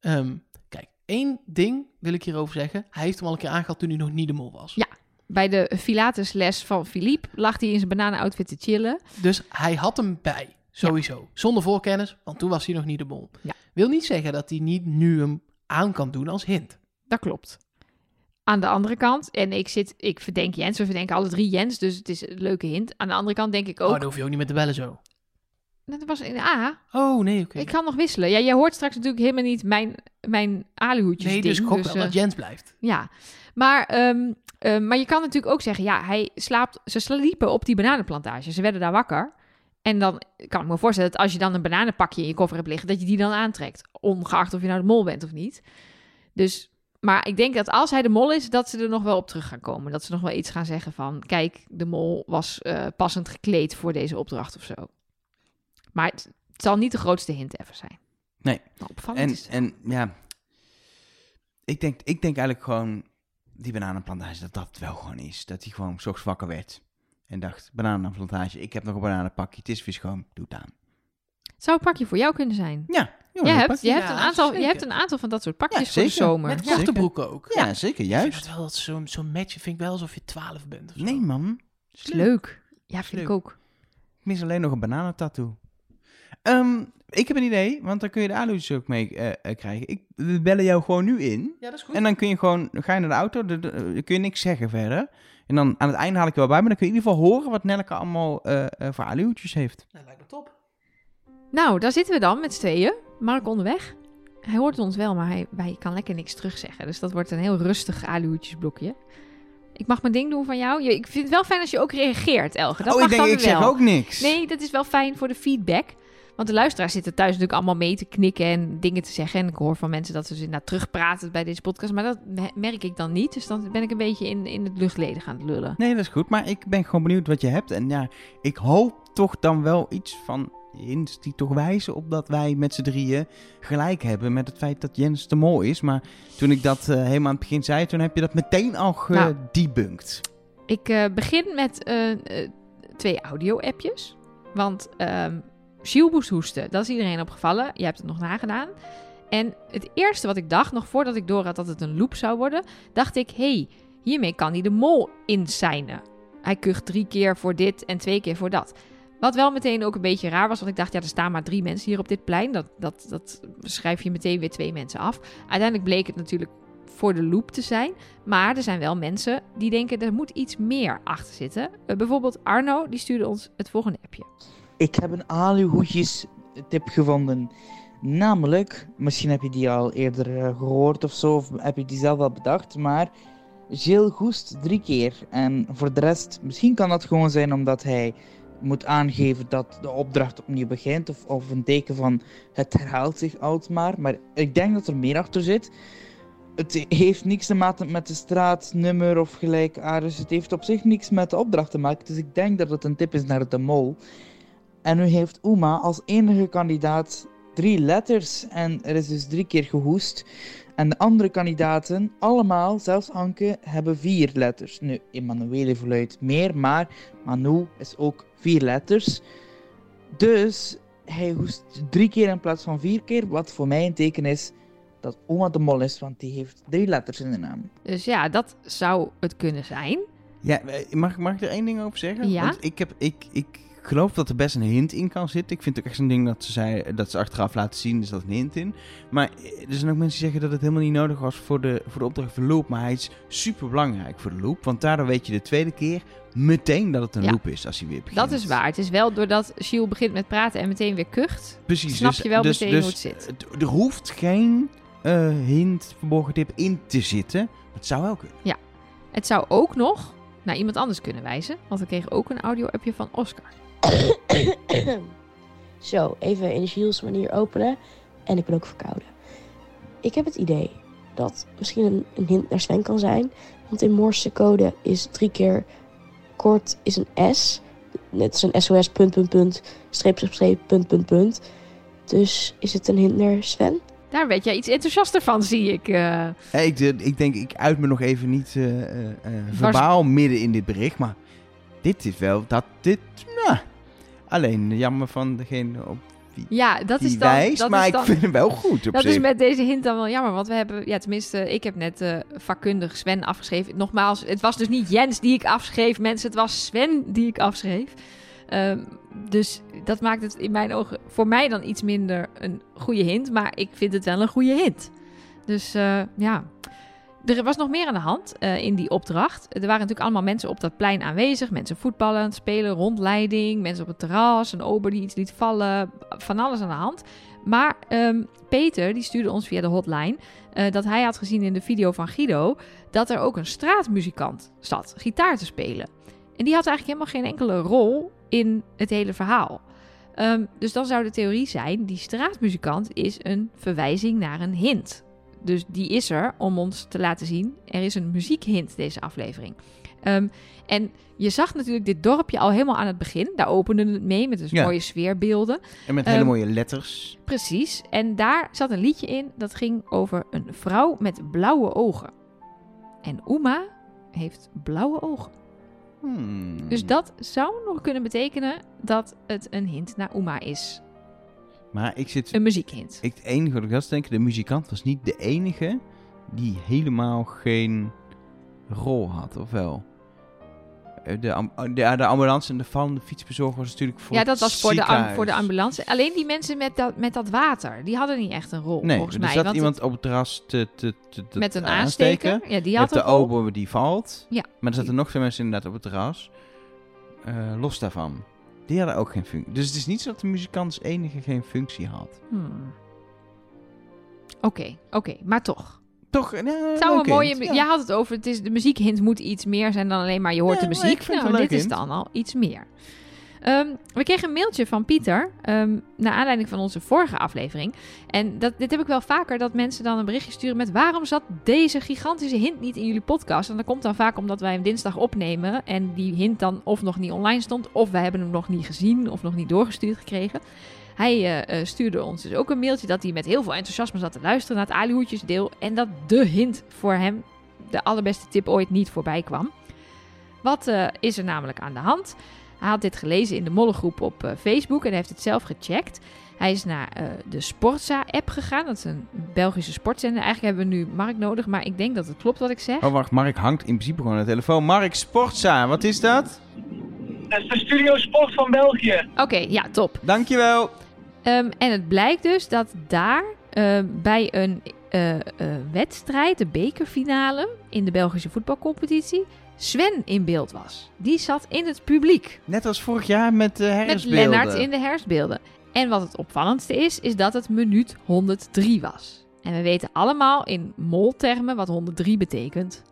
Ehm, kijk, één ding wil ik hierover zeggen. Hij heeft hem al een keer aangehad toen hij nog niet de mol was. Ja. Bij de Pilatesles van Philippe lag hij in zijn bananenoutfit te chillen. Dus hij had hem bij, sowieso. Zonder voorkennis, want toen was hij nog niet de mol. Ja. Wil niet zeggen dat hij niet nu hem aan kan doen als hint. Dat klopt. Aan de andere kant, en ik zit, ik verdenk Jens, we verdenken alle drie Jens, dus het is een leuke hint. Aan de andere kant denk ik Oh, ook, Nou, dan hoef je ook niet met de bellen zo. dat was in A, Oh, nee, oké. ik kan nog wisselen. Ja, jij hoort straks natuurlijk helemaal niet mijn, mijn aluhoedjes Nee, dus ding, gok dus, wel eh, dat Jens blijft. Ja, maar, ehm, ehm, maar je kan natuurlijk ook zeggen, ja, hij slaapt, ze sliepen op die bananenplantage. Ze werden daar wakker. En dan kan ik me voorstellen dat als je dan een bananenpakje in je koffer hebt liggen, dat je die dan aantrekt. Ongeacht of je nou de mol bent of niet. Dus, maar ik denk dat als hij de mol is, dat ze er nog wel op terug gaan komen. Dat ze nog wel iets gaan zeggen van, kijk, de mol was eh, passend gekleed voor deze opdracht of zo. Maar het, het zal niet de grootste hint ever zijn. Nee. Maar opvallend En, is het. en ja, ik denk, ik denk eigenlijk gewoon die bananenplantage, dat dat wel gewoon is. Dat hij gewoon 's ochtends wakker werd en dacht, bananenplantage, ik heb nog een bananenpakje, het is weer schoon, doe het aan. Het zou een pakje voor jou kunnen zijn. Ja, joh, Je dat hebt, pakt- je, hebt Ja, een aantal, je zeker. hebt een aantal van dat soort pakjes Oh, Ja, voor de zeker. zomer. Met Ja. korte zeker. broeken ook. ja, zeker, Ik vind juist. dat wel dat zo'n zo'n matchje vind ik wel alsof je 12 bent. Of zo. Nee man, Is leuk. Ja, vind ik leuk. ook. ik mis alleen nog een bananentattoo. Ehm, ik heb een idee, want dan kun je de alu's ook mee eh, eh, krijgen. Ik, we bellen jou gewoon nu in. Ja, dat is goed. En dan kun je gewoon, dan ga je naar de auto, dan dan kun je niks zeggen verder. En dan aan het einde haal ik je wel bij, maar dan kun je in ieder geval horen wat Nelke allemaal eh eh, voor aluutjes heeft. Nou, lijkt me top. Nou, daar zitten we dan met z'n tweeën. Mark onderweg. Hij hoort ons wel, maar hij, hij kan lekker niks terugzeggen. Dus dat wordt een heel rustig aluhoedjesblokje. Ik mag mijn ding doen van jou. Je- Ik vind het wel fijn als je ook reageert, Elge. Dat oh, mag ik denk, dan ik wel. zeg ook niks. Nee, dat is wel fijn voor de feedback. Want de luisteraars zitten thuis natuurlijk allemaal mee te knikken en dingen te zeggen. En ik hoor van mensen dat ze dus inderdaad terugpraten bij deze podcast. Maar dat me- merk ik dan niet. Dus dan ben ik een beetje in, in het luchtleden gaan lullen. Nee, dat is goed. Maar ik ben gewoon benieuwd wat je hebt. En ja, ik hoop toch dan wel iets van hints die toch wijzen op dat wij met z'n drieën gelijk hebben met het feit dat Jens te mol is. Maar toen ik dat eh, helemaal aan het begin zei, toen heb je dat meteen al Nou. gedebunked. Ik eh, begin met eh, eh, twee audio-appjes. Want ehm Gilles moest hoesten. Dat is iedereen opgevallen. Je hebt het nog nagedaan. En het eerste wat ik dacht, nog voordat ik door had dat het een loop zou worden, dacht ik: hé, hey, hiermee kan hij de mol inzijnen. Hij kucht drie keer voor dit en twee keer voor dat. Wat wel meteen ook een beetje raar was, want ik dacht, ja, er staan maar drie mensen hier op dit plein. Dat, dat, dat schrijf je meteen weer twee mensen af. Uiteindelijk bleek het natuurlijk voor de loop te zijn. Maar er zijn wel mensen die denken, er moet iets meer achter zitten. Eh, bijvoorbeeld Arno, die stuurde ons het volgende appje. Ik heb een aluhoedjes tip gevonden. Namelijk, misschien heb je die al eerder eh, gehoord of zo, of heb je die zelf al bedacht, maar Gilles Goest drie keer. En voor de rest, misschien kan dat gewoon zijn omdat hij moet aangeven dat de opdracht opnieuw begint, of, of een teken van het herhaalt zich altijd maar. Maar ik denk dat er meer achter zit. Het heeft niks te maken met de straatnummer of gelijkaardig. Het heeft op zich niks met de opdracht te maken. Dus ik denk dat het een tip is naar de mol. En nu heeft Uma als enige kandidaat drie letters. En er is dus drie keer gehoest. En de andere kandidaten, allemaal, zelfs Anke, hebben vier letters. Nu, Emanuele verluidt meer, maar Manu is ook vier letters. Dus hij hoest drie keer in plaats van vier keer. Wat voor mij een teken is dat Oma de Mol is, want die heeft drie letters in de naam. Dus ja, dat zou het kunnen zijn. Ja, eh, mag, mag ik er één ding over zeggen? Ja. Want ik, heb, ik, ik geloof dat er best een hint in kan zitten. Ik vind het ook echt zo'n ding dat ze, zei, dat ze achteraf laten zien, dus dat een hint in. Maar eh, er zijn ook mensen die zeggen dat het helemaal niet nodig was voor de, voor de opdracht van loop. Maar hij is super belangrijk voor de loop. Want daardoor weet je de tweede keer meteen dat het een Ja. loop is als hij weer begint. Dat is waar. Het is wel doordat Gilles begint met praten en meteen weer kucht. Precies. Snap dus- je wel dus- meteen dus hoe het zit. het- Er hoeft geen eh, hint, verborgen tip in te zitten. Maar Het zou wel kunnen. Het zou ook nog naar iemand anders kunnen wijzen, want we kregen ook een audio-appje van Oscar. Zo, even in Gilles manier openen. En ik ben ook verkouden. Ik heb het idee dat misschien een, een hint naar Sven kan zijn. Want in Morse code is drie keer kort is een S. Net als een SOS, punt, punt, punt, streep, streep, streep, punt, punt, punt. Dus is het een hint naar Sven? Daar werd jij iets enthousiaster van, zie ik. eh. Hey, ik, de- ik denk, ik uit me nog even niet eh, eh, eh, Waars- verbaal midden in dit bericht, maar dit is wel dat dit. nou, alleen jammer van degene op ja, dat die is dan. wijst, dat maar is ik dan, vind hem wel goed op dat zich. is met deze hint dan wel jammer, want we hebben, ja, tenminste, ik heb net eh, vakkundig Sven afgeschreven. Nogmaals, het was dus niet Jens die ik afschreef, mensen, het was Sven die ik afschreef. Ehm, dus dat maakt het in mijn ogen voor mij dan iets minder een goede hint, maar ik vind het wel een goede hint. Dus eh, ja, er was nog meer aan de hand eh, in die opdracht. Er waren natuurlijk allemaal mensen op dat plein aanwezig. Mensen voetballen, aan het spelen, rondleiding, mensen op het terras, een ober die iets liet vallen, van alles aan de hand. Maar ehm, Peter, die stuurde ons via de hotline, eh, dat hij had gezien in de video van Guido dat er ook een straatmuzikant zat, gitaar te spelen. En die had eigenlijk helemaal geen enkele rol in het hele verhaal. Ehm, dus dan zou de theorie zijn, die straatmuzikant is een verwijzing naar een hint. Dus die is er om ons te laten zien, er is een muziekhint deze aflevering. Ehm, en je zag natuurlijk dit dorpje al helemaal aan het begin. Daar opende het mee met dus Ja. mooie sfeerbeelden. en met hele ehm, mooie letters. Precies, en daar zat een liedje in dat ging over een vrouw met blauwe ogen. En Uma heeft blauwe ogen. Hmm. Dus dat zou nog kunnen betekenen dat het een hint naar Uma is. Maar ik zit. Een muziekhint. Ik, het enige wat ik was te denken, de muzikant was niet de enige die helemaal geen rol had, of wel? Eh, De, am- de, ja, de ambulance en de vallende fietsbezorger was natuurlijk voor Ja, het dat was voor de, am- ziekenhuis. voor de ambulance. Alleen die mensen met dat, met dat water, die hadden niet echt een rol, Nee, volgens er mij. zat want iemand op het terras te, te, te, te het- met een aansteken. aansteker, ja, die Je had hebt een de rol. ober die valt. Ja. Maar er zaten nog twee mensen inderdaad op het terras. Eh, los daarvan. Die hadden ook geen functie. Dus het is niet zo dat de muzikant als enige geen functie had. Hmm. Oké, oké, maar toch. Toch? eh, nou, Het zou leuk een mooie. hint, mu- ja. Jij had het over. Het is, de muziekhint moet iets meer zijn dan alleen maar je hoort Ja, de maar ik muziek. vind het Nou, een leuk dit is hint. dan al iets meer. Ehm, we kregen een mailtje van Pieter. ehm, naar aanleiding van onze vorige aflevering. En dat, dit heb ik wel vaker: dat mensen dan een berichtje sturen met. Waarom zat deze gigantische hint niet in jullie podcast? En dat komt dan vaak omdat wij hem dinsdag opnemen. En die hint dan of nog niet online stond. Of wij hebben hem nog niet gezien. Of nog niet doorgestuurd gekregen. Hij eh, eh, stuurde ons dus ook een mailtje dat hij met heel veel enthousiasme zat te luisteren naar het Alihoedjesdeel. En dat de hint voor hem, de allerbeste tip ooit, niet voorbij kwam. Wat eh, is er namelijk aan de hand? Hij had dit gelezen in de Mollengroep op eh, Facebook en hij heeft het zelf gecheckt. Hij is naar eh, de Sportza-app gegaan. Dat is een Belgische sportzender. Eigenlijk hebben we nu Mark nodig, maar ik denk dat het klopt wat ik zeg. Oh, wacht. Mark hangt in principe gewoon aan de telefoon. Mark Sportza, wat is dat? Dat is de Studio Sport van België. Oké, ja, top. Dankjewel. Ehm, en het blijkt dus dat daar ehm, bij een eh, eh, wedstrijd, de bekerfinale in de Belgische voetbalcompetitie, Sven in beeld was. Die zat in het publiek Net als vorig jaar met de met herfstbeelden. Lennart in de herfstbeelden. En wat het opvallendste is, is dat het minuut 103 was. En we weten allemaal in moltermen wat 103 betekent.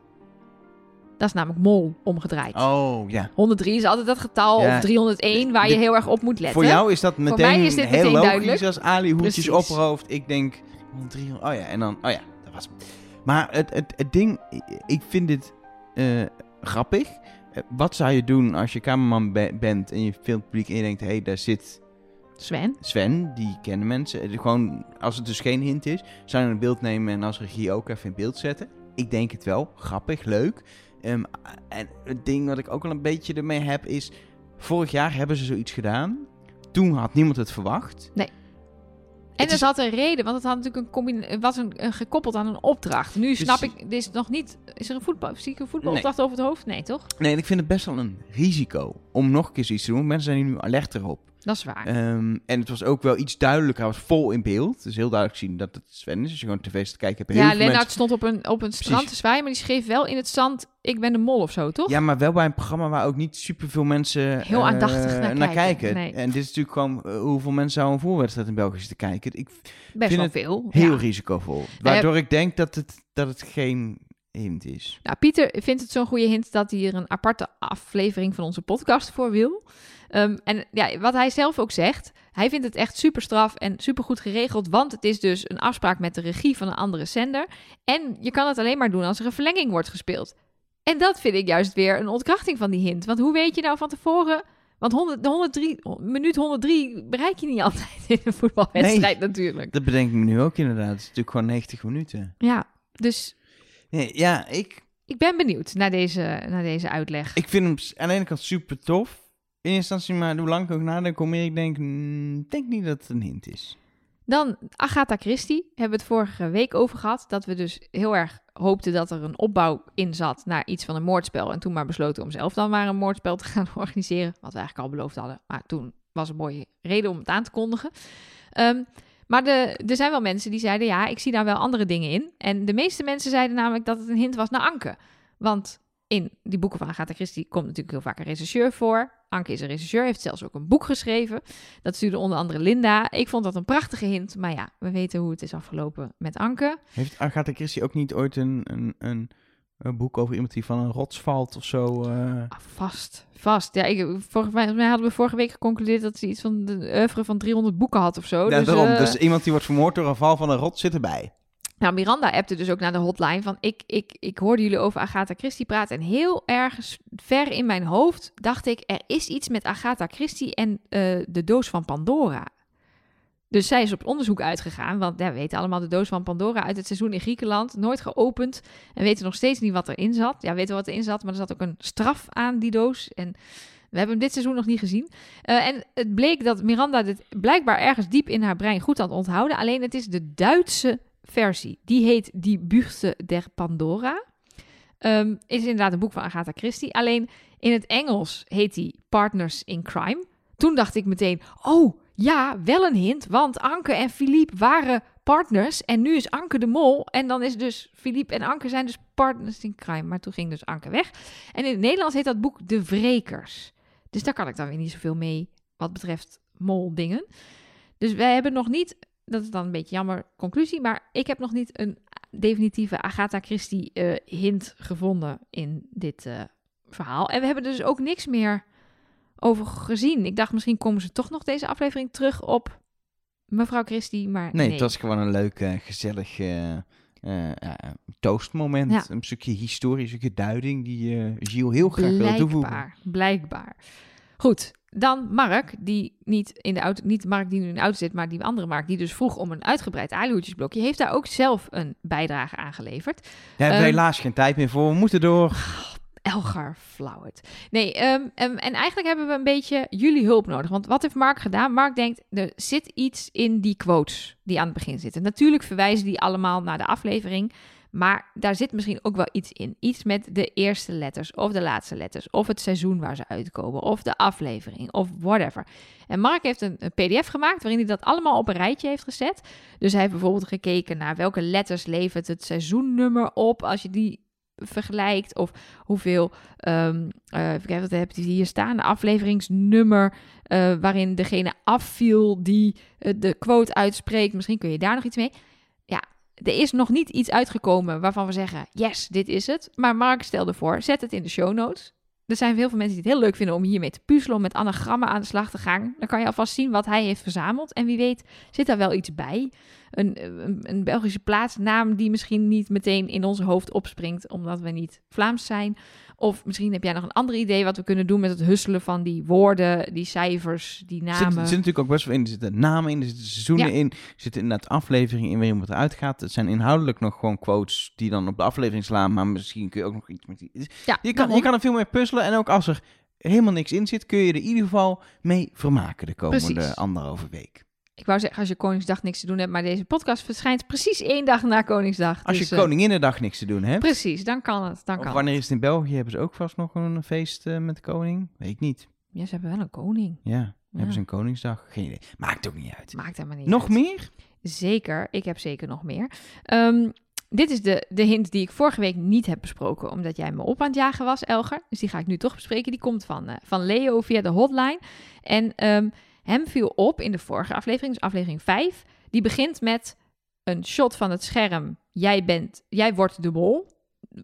Dat is namelijk mol omgedraaid. Oh, ja. 103 is altijd dat getal, Ja. of 301, waar je Dit- heel erg op moet letten. Voor jou is dat meteen mij is dit heel meteen logisch duidelijk. als Ali Hoedjes Precies. opperhoofd. Ik denk, 300, oh ja, en dan, oh ja, dat was hem. Maar het, het, het ding, i- ik vind dit eh, grappig. Eh, Wat zou je doen als je cameraman be- bent en je filmt publiek en je denkt, hé, hey, daar zit Sven? Sven, die kennen mensen. Eh, Gewoon, als het dus geen hint is, zou je een beeld nemen en als regie ook even in beeld zetten. Ik denk het wel. Grappig, leuk. Ehm, en het ding wat ik ook wel een beetje ermee heb is... Vorig jaar hebben ze zoiets gedaan. Toen had niemand het verwacht. En Het het, is- had een reden, want het had natuurlijk een combina- het was een, een gekoppeld aan een opdracht. Nu snap Precies. ik, dit is nog niet. Is er een voetbal, zie ik een voetbalopdracht over het hoofd? Nee, toch? Nee, en ik vind het best wel een risico om nog een keer zoiets te doen. Mensen zijn hier nu alerter op. Dat is waar. Ehm, en het was ook wel iets duidelijker. Hij was vol in beeld. Dus heel duidelijk zien dat het Sven is. Als je gewoon tv te kijken hebt, heel ja, veel mensen- Lennart stond op een, op een strand te zwaaien, maar die schreef wel in het zand: Ik ben de mol of zo, toch? Ja, maar wel bij een programma waar ook niet superveel mensen Heel eh, aandachtig naar kijken. Nee. En dit is natuurlijk gewoon eh, hoeveel mensen zouden een voorwedstrijd in België zitten kijken. Ik vind Best wel het veel. heel ja. risicovol. Waardoor ik denk dat het, dat het geen hint is. Nou, Pieter vindt het zo'n goede hint dat hij er een aparte aflevering van onze podcast voor wil. Ehm, en ja, wat hij zelf ook zegt, hij vindt het echt super straf en super goed geregeld. Want het is dus een afspraak met de regie van een andere zender. En je kan het alleen maar doen als er een verlenging wordt gespeeld. En dat vind ik juist weer een ontkrachting van die hint. Want hoe weet je nou van tevoren. Want 100, de 103, minuut 103 bereik je niet altijd in een voetbalwedstrijd, natuurlijk. Dat bedenk ik me nu ook inderdaad. Het is natuurlijk gewoon 90 minuten. Ja, dus Nee, ja, ik, ik ben benieuwd naar deze, naar deze uitleg. ik vind hem s- aan de ene kant super tof. In eerste instantie, maar hoe lang ik ook nadenk, hoe meer ik denk, mm, ik denk niet dat het een hint is. Dan Agatha Christie, hebben we het vorige week over gehad. Dat we dus heel erg hoopten dat er een opbouw in zat naar iets van een moordspel. En toen maar besloten om zelf dan maar een moordspel te gaan organiseren. Wat we eigenlijk al beloofd hadden. Maar toen was een mooie reden om het aan te kondigen. Ehm, maar de, er zijn wel mensen die zeiden, ja, ik zie daar wel andere dingen in. En de meeste mensen zeiden namelijk dat het een hint was naar Anke. Want in die boeken van Agatha Christie komt natuurlijk heel vaak een regisseur voor. Anke is een regisseur, heeft zelfs ook een boek geschreven. Dat stuurde onder andere Linda. Ik vond dat een prachtige hint. Maar ja, we weten hoe het is afgelopen met Anke. Heeft Agatha Christie ook niet ooit een, een, een, een boek over iemand die van een rots valt of zo? eh? Ah, vast, vast. Ja, ik, volgens mij mij hadden we vorige week geconcludeerd dat ze iets van de oeuvre van 300 boeken had of zo. Ja, dus, daarom. eh, Dus iemand die wordt vermoord door een val van een rot zit erbij. Nou, Miranda appte dus ook naar de hotline van... Ik, ik, ik hoorde jullie over Agatha Christie praten... en heel ergens ver in mijn hoofd dacht ik... er is iets met Agatha Christie en eh, de doos van Pandora. Dus zij is op onderzoek uitgegaan... want ja, we weten allemaal de doos van Pandora uit het seizoen in Griekenland... nooit geopend en weten nog steeds niet wat erin zat. Ja, we weten wat erin zat, maar er zat ook een straf aan die doos... en we hebben hem dit seizoen nog niet gezien. Eh, en het bleek dat Miranda dit blijkbaar ergens diep in haar brein goed aan het onthouden. Alleen het is de Duitse versie. Die heet Die Buurte der Pandora. Ehm, is inderdaad een boek van Agatha Christie. Alleen in het Engels heet die Partners in Crime. Toen dacht ik meteen, oh ja, wel een hint. Want Anke en Philippe waren partners. En nu is Anke de mol. En dan is dus Philippe en Anke zijn dus partners in crime. Maar toen ging dus Anke weg. En in het Nederlands heet dat boek De Wrekers. Dus daar kan ik dan weer niet zoveel mee wat betreft moldingen. Dus wij hebben nog niet, dat is dan een beetje jammer conclusie, maar ik heb nog niet een definitieve Agatha Christie eh, hint gevonden in dit eh, verhaal. En we hebben er dus ook niks meer over gezien. Ik dacht misschien komen ze toch nog deze aflevering terug op mevrouw Christie, maar Nee, nee. het was gewoon een leuk, eh, gezellig eh, eh, ja, toastmoment. Ja. Een stukje historie, een stukje duiding die eh Gilles heel graag wil toevoegen. Blijkbaar, blijkbaar. Goed, dan Mark, die niet in de auto, niet Mark die nu in de auto zit, maar die andere Mark, die dus vroeg om een uitgebreid alihoedjesblokje, heeft daar ook zelf een bijdrage aan geleverd. Daar hebben we Ehm, helaas geen tijd meer voor. We moeten door. Elgar Flauwert. Nee, ehm, ehm, en eigenlijk hebben we een beetje jullie hulp nodig. Want wat heeft Mark gedaan? Mark denkt, er zit iets in die quotes die aan het begin zitten. Natuurlijk verwijzen die allemaal naar de aflevering. Maar daar zit misschien ook wel iets in. Iets met de eerste letters of de laatste letters. Of het seizoen waar ze uitkomen. Of de aflevering. Of whatever. En Mark heeft een, een PDF gemaakt waarin hij dat allemaal op een rijtje heeft gezet. Dus hij heeft bijvoorbeeld gekeken naar welke letters levert het seizoennummer op. Als je die vergelijkt. Of hoeveel. ehm eh even kijken, wat heb je hier staan? De afleveringsnummer. eh, waarin degene afviel die eh, de quote uitspreekt. Misschien kun je daar nog iets mee. Ja, er is nog niet iets uitgekomen waarvan we zeggen: yes, dit is het. Maar Mark stelde voor: zet het in de show notes. Er zijn heel veel mensen die het heel leuk vinden om hiermee te puzzelen, om met anagrammen aan de slag te gaan. Dan kan je alvast zien wat hij heeft verzameld. En wie weet zit daar wel iets bij. Een, een, een Belgische plaatsnaam die misschien niet meteen in ons hoofd opspringt, omdat we niet Vlaams zijn. Of misschien heb jij nog een ander idee wat we kunnen doen met het husselen van die woorden, die cijfers, die Er zit, namen. er zit natuurlijk ook best wel in. Er zitten namen in, er zitten seizoenen Ja. in. Er zitten inderdaad afleveringen in waar iemand eruit gaat. Het zijn inhoudelijk nog gewoon quotes die dan op de aflevering slaan. Maar misschien kun je ook nog iets met die... ja, Je kan, je daarom. kan er veel mee puzzelen. En ook als er helemaal niks in zit, kun je er in ieder geval mee vermaken de komende Precies. anderhalve week. Ik wou zeggen, als je Koningsdag niks te doen hebt, maar deze podcast verschijnt precies één dag na Koningsdag. Als Dus, je eh, Koninginnedag niks te doen hebt. Precies, dan kan het. Dan Of kan wanneer het. is het in België? Hebben ze ook vast nog een feest eh, met de koning? Weet ik niet. Ja, ze hebben wel een koning. Ja, hebben Ja. ze een koningsdag? Geen idee. Maakt ook niet uit. Maakt helemaal niet Nog uit. meer? Zeker, ik heb zeker nog meer. Ehm, dit is de, de hint die ik vorige week niet heb besproken, omdat jij me op aan het jagen was, Elger. Dus die ga ik nu toch bespreken. Die komt van, eh, van Leo via de hotline. En ehm, hem viel op in de vorige aflevering, dus aflevering 5. Die begint met een shot van het scherm. Jij, bent, jij wordt de mol.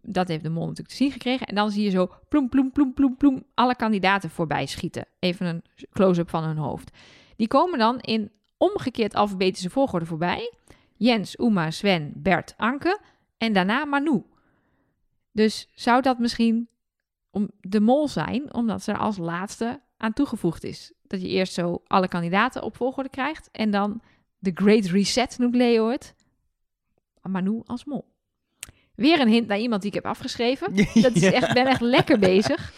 Dat heeft de mol natuurlijk te zien gekregen. En dan zie je zo ploem, ploem, ploem, ploem, ploem alle kandidaten voorbij schieten. Even een close-up van hun hoofd. Die komen dan in omgekeerd alfabetische volgorde voorbij. Jens, Uma, Sven, Bert, Anke en daarna Manu. Dus zou dat misschien om de mol zijn, omdat ze er als laatste aan toegevoegd is? Dat je eerst zo alle kandidaten op volgorde krijgt en dan de Great Reset noemt Leo het. Manu als mol. Weer een hint naar iemand die ik heb afgeschreven. Dat is echt, ben echt lekker bezig.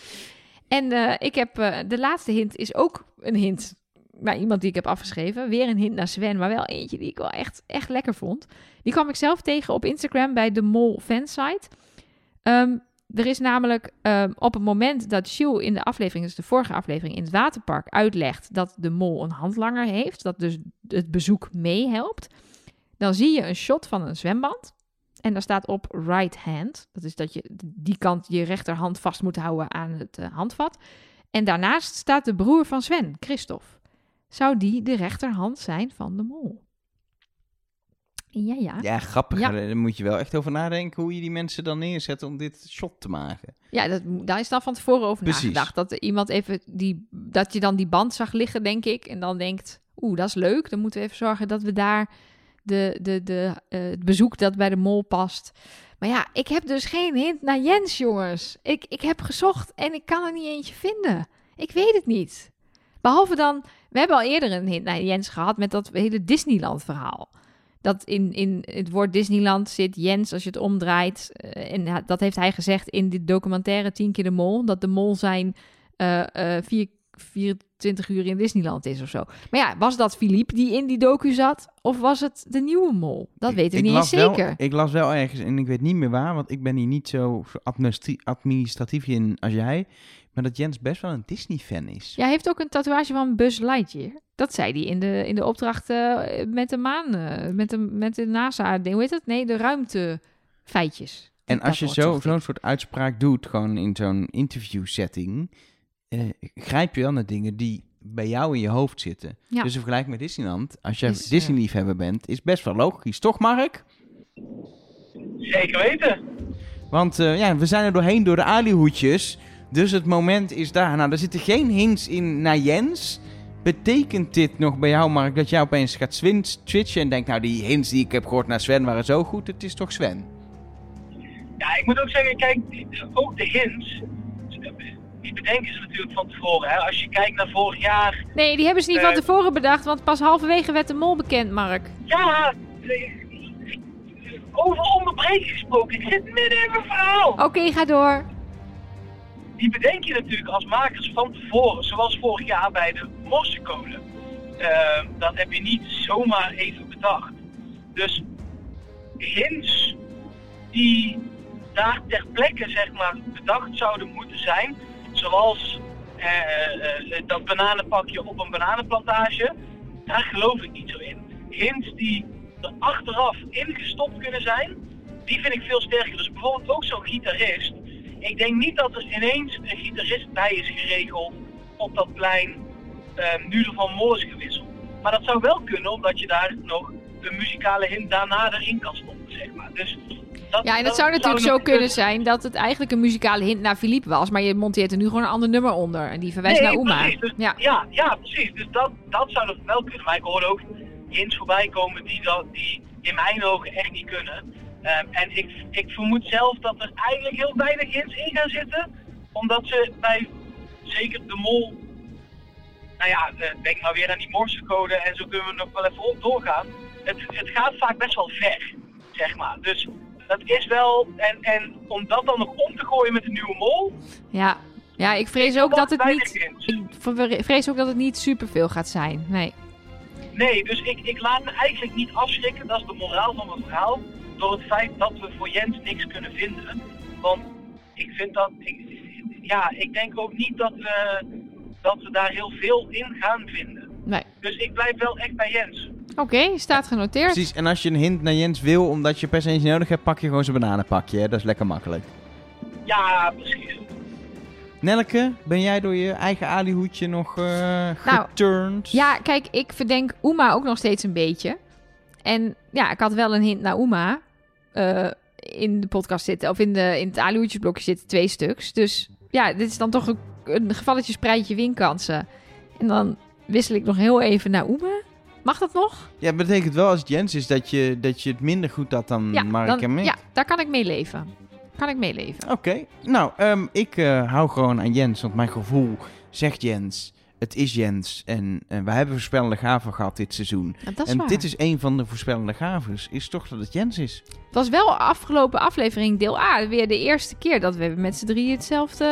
En eh, ik heb, eh, de laatste hint is ook een hint naar iemand die ik heb afgeschreven. Weer een hint naar Sven, maar wel eentje die ik wel echt, echt lekker vond. Die kwam ik zelf tegen op Instagram bij de Mol fansite. Ehm er is namelijk ehm, op het moment dat Jules in de aflevering, dus de vorige aflevering in het waterpark, uitlegt dat de mol een handlanger heeft, dat dus het bezoek meehelpt, dan zie je een shot van een zwembad. En daar staat op right hand. Dat is dat je die kant je rechterhand vast moet houden aan het eh, handvat. En daarnaast staat de broer van Sven, Christophe. Zou die de rechterhand zijn van de mol? Ja, ja. Ja, grappig. Ja. Daar moet je wel echt over nadenken hoe je die mensen dan neerzet om dit shot te maken. Ja, dat, daar is dan van tevoren over Precies. nagedacht. Dat er iemand even die, dat je dan die band zag liggen, denk ik. En dan denkt, oeh, dat is leuk. Dan moeten we even zorgen dat we daar de, de, de, eh, het bezoek dat bij de mol past. Maar ja, ik heb dus geen hint naar Jens, jongens. Ik, ik heb gezocht en ik kan er niet eentje vinden. Ik weet het niet. Behalve dan, we hebben al eerder een hint naar Jens gehad met dat hele Disneyland verhaal. Dat in, in het woord Disneyland zit Jens als je het omdraait. eh, en ha- dat heeft hij gezegd in dit documentaire Tien keer de mol. Dat de mol zijn eh, eh, vier, 24 uur in Disneyland is of zo. Maar ja, was dat Philippe die in die docu zat? Of was het de nieuwe mol? Dat Ik- weten ik we niet eens las wel- zeker. ik las wel ergens, en ik weet niet meer waar, want ik ben hier niet zo zo administri- administratief in als jij. Maar dat Jens best wel een Disney-fan is. Jij heeft ook een tatoeage van Buzz Lightyear. Dat zei hij in de, in de opdracht eh, met de maan, eh, met, de, met de NASA, hoe heet dat? Nee, de ruimtefeitjes. En als je Dat zo- woord zo'n zocht ik. soort uitspraak doet, gewoon in zo'n interview-setting, eh, grijp je wel naar dingen die bij jou in je hoofd zitten. Ja. Dus in vergelijking met Disneyland, als jij Is, eh, Disney-liefhebber bent, is best wel logisch, toch Mark? Zeker weten. Want eh, ja, we zijn er doorheen door de alihoedjes. Dus het moment is daar. Nou, er zitten geen hints in naar Jens. Betekent dit nog bij jou, Mark, dat jij opeens gaat swin- switchen en denkt... nou, die hints die ik heb gehoord naar Sven waren zo goed, het is toch Sven? Ja, ik moet ook zeggen, kijk, ook de hints, die bedenken ze natuurlijk van tevoren. Hè. Als je kijkt naar vorig jaar, Nee, die hebben ze niet van Eh. tevoren bedacht, want pas halverwege werd de mol bekend, Mark. ja, eh, over onderbreken gesproken, ik zit midden in mijn verhaal. Oké, ga door. die bedenk je natuurlijk als makers van tevoren. Zoals vorig jaar bij de morsecode. Eh, dat heb je niet zomaar even bedacht. Dus hints die daar ter plekke zeg maar, bedacht zouden moeten zijn. Zoals eh, eh, eh, dat bananenpakje op een bananenplantage. Daar geloof ik niet zo in. Hints die er achteraf ingestopt kunnen zijn, die vind ik veel sterker. Dus bijvoorbeeld ook zo'n gitarist. Ik denk niet dat er ineens een gitarist bij is geregeld op dat plein eh, nu er van mol is gewisseld. Maar dat zou wel kunnen, omdat je daar nog een muzikale hint daarna erin kan stoppen, zeg maar. Dus dat, Ja, en het zou natuurlijk zo kunnen zijn dat het eigenlijk een muzikale hint naar Philippe was, maar je monteert er nu gewoon een ander nummer onder en die verwijst Nee, naar Uma. precies. Dus- Ja. Ja, ja, precies. Dus dat, dat zou nog wel kunnen. Maar ik hoor ook hints voorbij komen die, dat, die in mijn ogen echt niet kunnen. Ehm, en ik, ik vermoed zelf dat er eigenlijk heel weinig hints in gaan zitten. Omdat ze bij zeker de mol... Nou ja, eh, denk maar weer aan die morsecode en zo kunnen we nog wel even op doorgaan. Het, het gaat vaak best wel ver, zeg maar. Dus dat is wel... En, en om dat dan nog om te gooien met een nieuwe mol... Ja. ja, ik vrees ook dat het weinig niet. hints. Ik ver- vrees ook dat het niet superveel gaat zijn. Nee. Nee, dus ik, ik laat me eigenlijk niet afschrikken, dat is de moraal van mijn verhaal, door het feit dat we voor Jens niks kunnen vinden. Want ik vind dat, ik, ja, ik denk ook niet dat we, dat we daar heel veel in gaan vinden. nee. Dus ik blijf wel echt bij Jens. Oké, staat genoteerd. Precies, en als je een hint naar Jens wil, omdat je per se eentje nodig hebt, pak je gewoon zijn bananenpakje. Hè? Dat is lekker makkelijk. Ja, precies. Nelke, ben jij door je eigen alihoedje nog eh Nou, geturnd? Ja, kijk, ik verdenk Uma ook nog steeds een beetje. En ja, ik had wel een hint naar Uma eh, in de podcast zitten. Of in, de, in het aluhoedjesblokje zitten twee stuks. Dus ja, dit is dan toch een, een gevalletje spreidje winkansen. En dan wissel ik nog heel even naar Uma. Mag dat nog? Ja, betekent wel als het Jens is dat je, dat je het minder goed had dan Ja, Mark dan- en Mick. ja daar kan ik mee leven. Kan ik mee leven. Oké, nou, ehm, ik eh, hou gewoon aan Jens, want mijn gevoel zegt Jens. Het is Jens en eh, we hebben voorspellende gaven gehad dit seizoen. Ja, dat is en waar. dit is een van de voorspellende gaves, is toch dat het Jens is. Het was wel afgelopen aflevering deel A. Weer de eerste keer dat we met z'n drieën hetzelfde...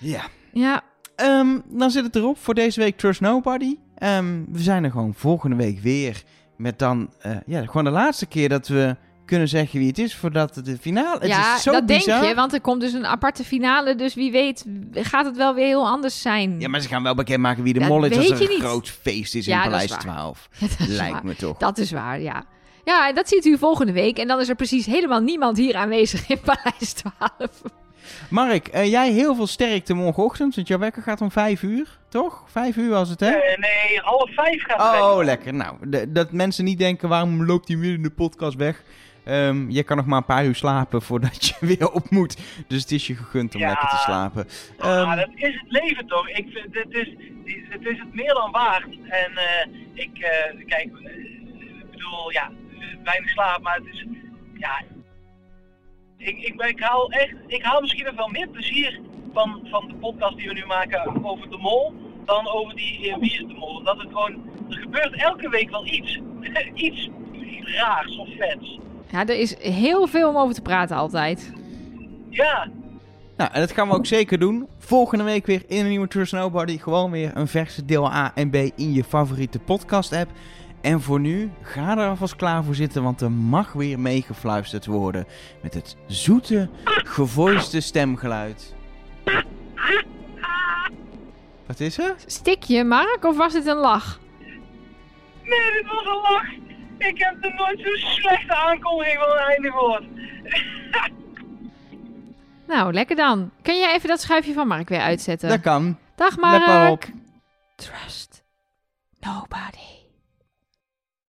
Ja. Ja, Ehm, dan zit het erop voor deze week Trust Nobody. Ehm, we zijn er gewoon volgende week weer. Met dan eh, ja, gewoon de laatste keer dat we kunnen zeggen wie het is voordat het de finale... Het ja, is zo dat bizar. denk je, want er komt dus een aparte finale. Dus wie weet gaat het wel weer heel anders zijn. Ja, maar ze gaan wel bekendmaken wie de Dat mol is weet als je er een niet. groot feest is Ja, in dat is Paleis waar. 12. dat, is Lijkt waar. me toch. dat is waar, ja. Ja, en dat ziet u volgende week. En dan is er precies helemaal niemand hier aanwezig in Paleis 12. Mark, eh, jij heel veel sterkte morgenochtend, want jouw wekker gaat om vijf uur, toch? Vijf uur was het, hè? Eh, nee, half vijf gaat het Oh, weg. lekker. Nou, de- dat mensen niet denken, waarom loopt hij weer in de podcast weg? Ehm, je kan nog maar een paar uur slapen voordat je weer op moet. Dus het is je gegund om Ja. lekker te slapen. Ja, Ehm, dat is het leven toch? Ik vind, dit is, dit is het meer dan waard. En eh, ik, eh, kijk, eh, ik bedoel, ja, eh, weinig slaap, maar het is, ja, ik, ik, ben- ik haal echt, ik haal misschien nog wel meer plezier van, van de podcast die we nu maken over de mol, dan over die eh, Wie is de mol. Omdat het gewoon, er gebeurt elke week wel iets, iets raars of vets. Ja, er is heel veel om over te praten altijd. Ja, Nou, en dat gaan we ook zeker doen. Volgende week weer in een nieuwe Trust Nobody. Gewoon weer een verse deel A en B in je favoriete podcast-app. En voor nu, ga er alvast klaar voor zitten, want er mag weer meegefluisterd worden. Met het zoete, gevoiste stemgeluid. Wat is er? Stik je, Mark, of was het een lach? nee, dit was een lach. Ik heb er nooit zo'n slechte aankondiging van een einde gehoord. Nou, lekker dan. Kun jij even dat schuifje van Mark weer uitzetten? Dat kan. Dag, Let Mark. maar op. Trust nobody.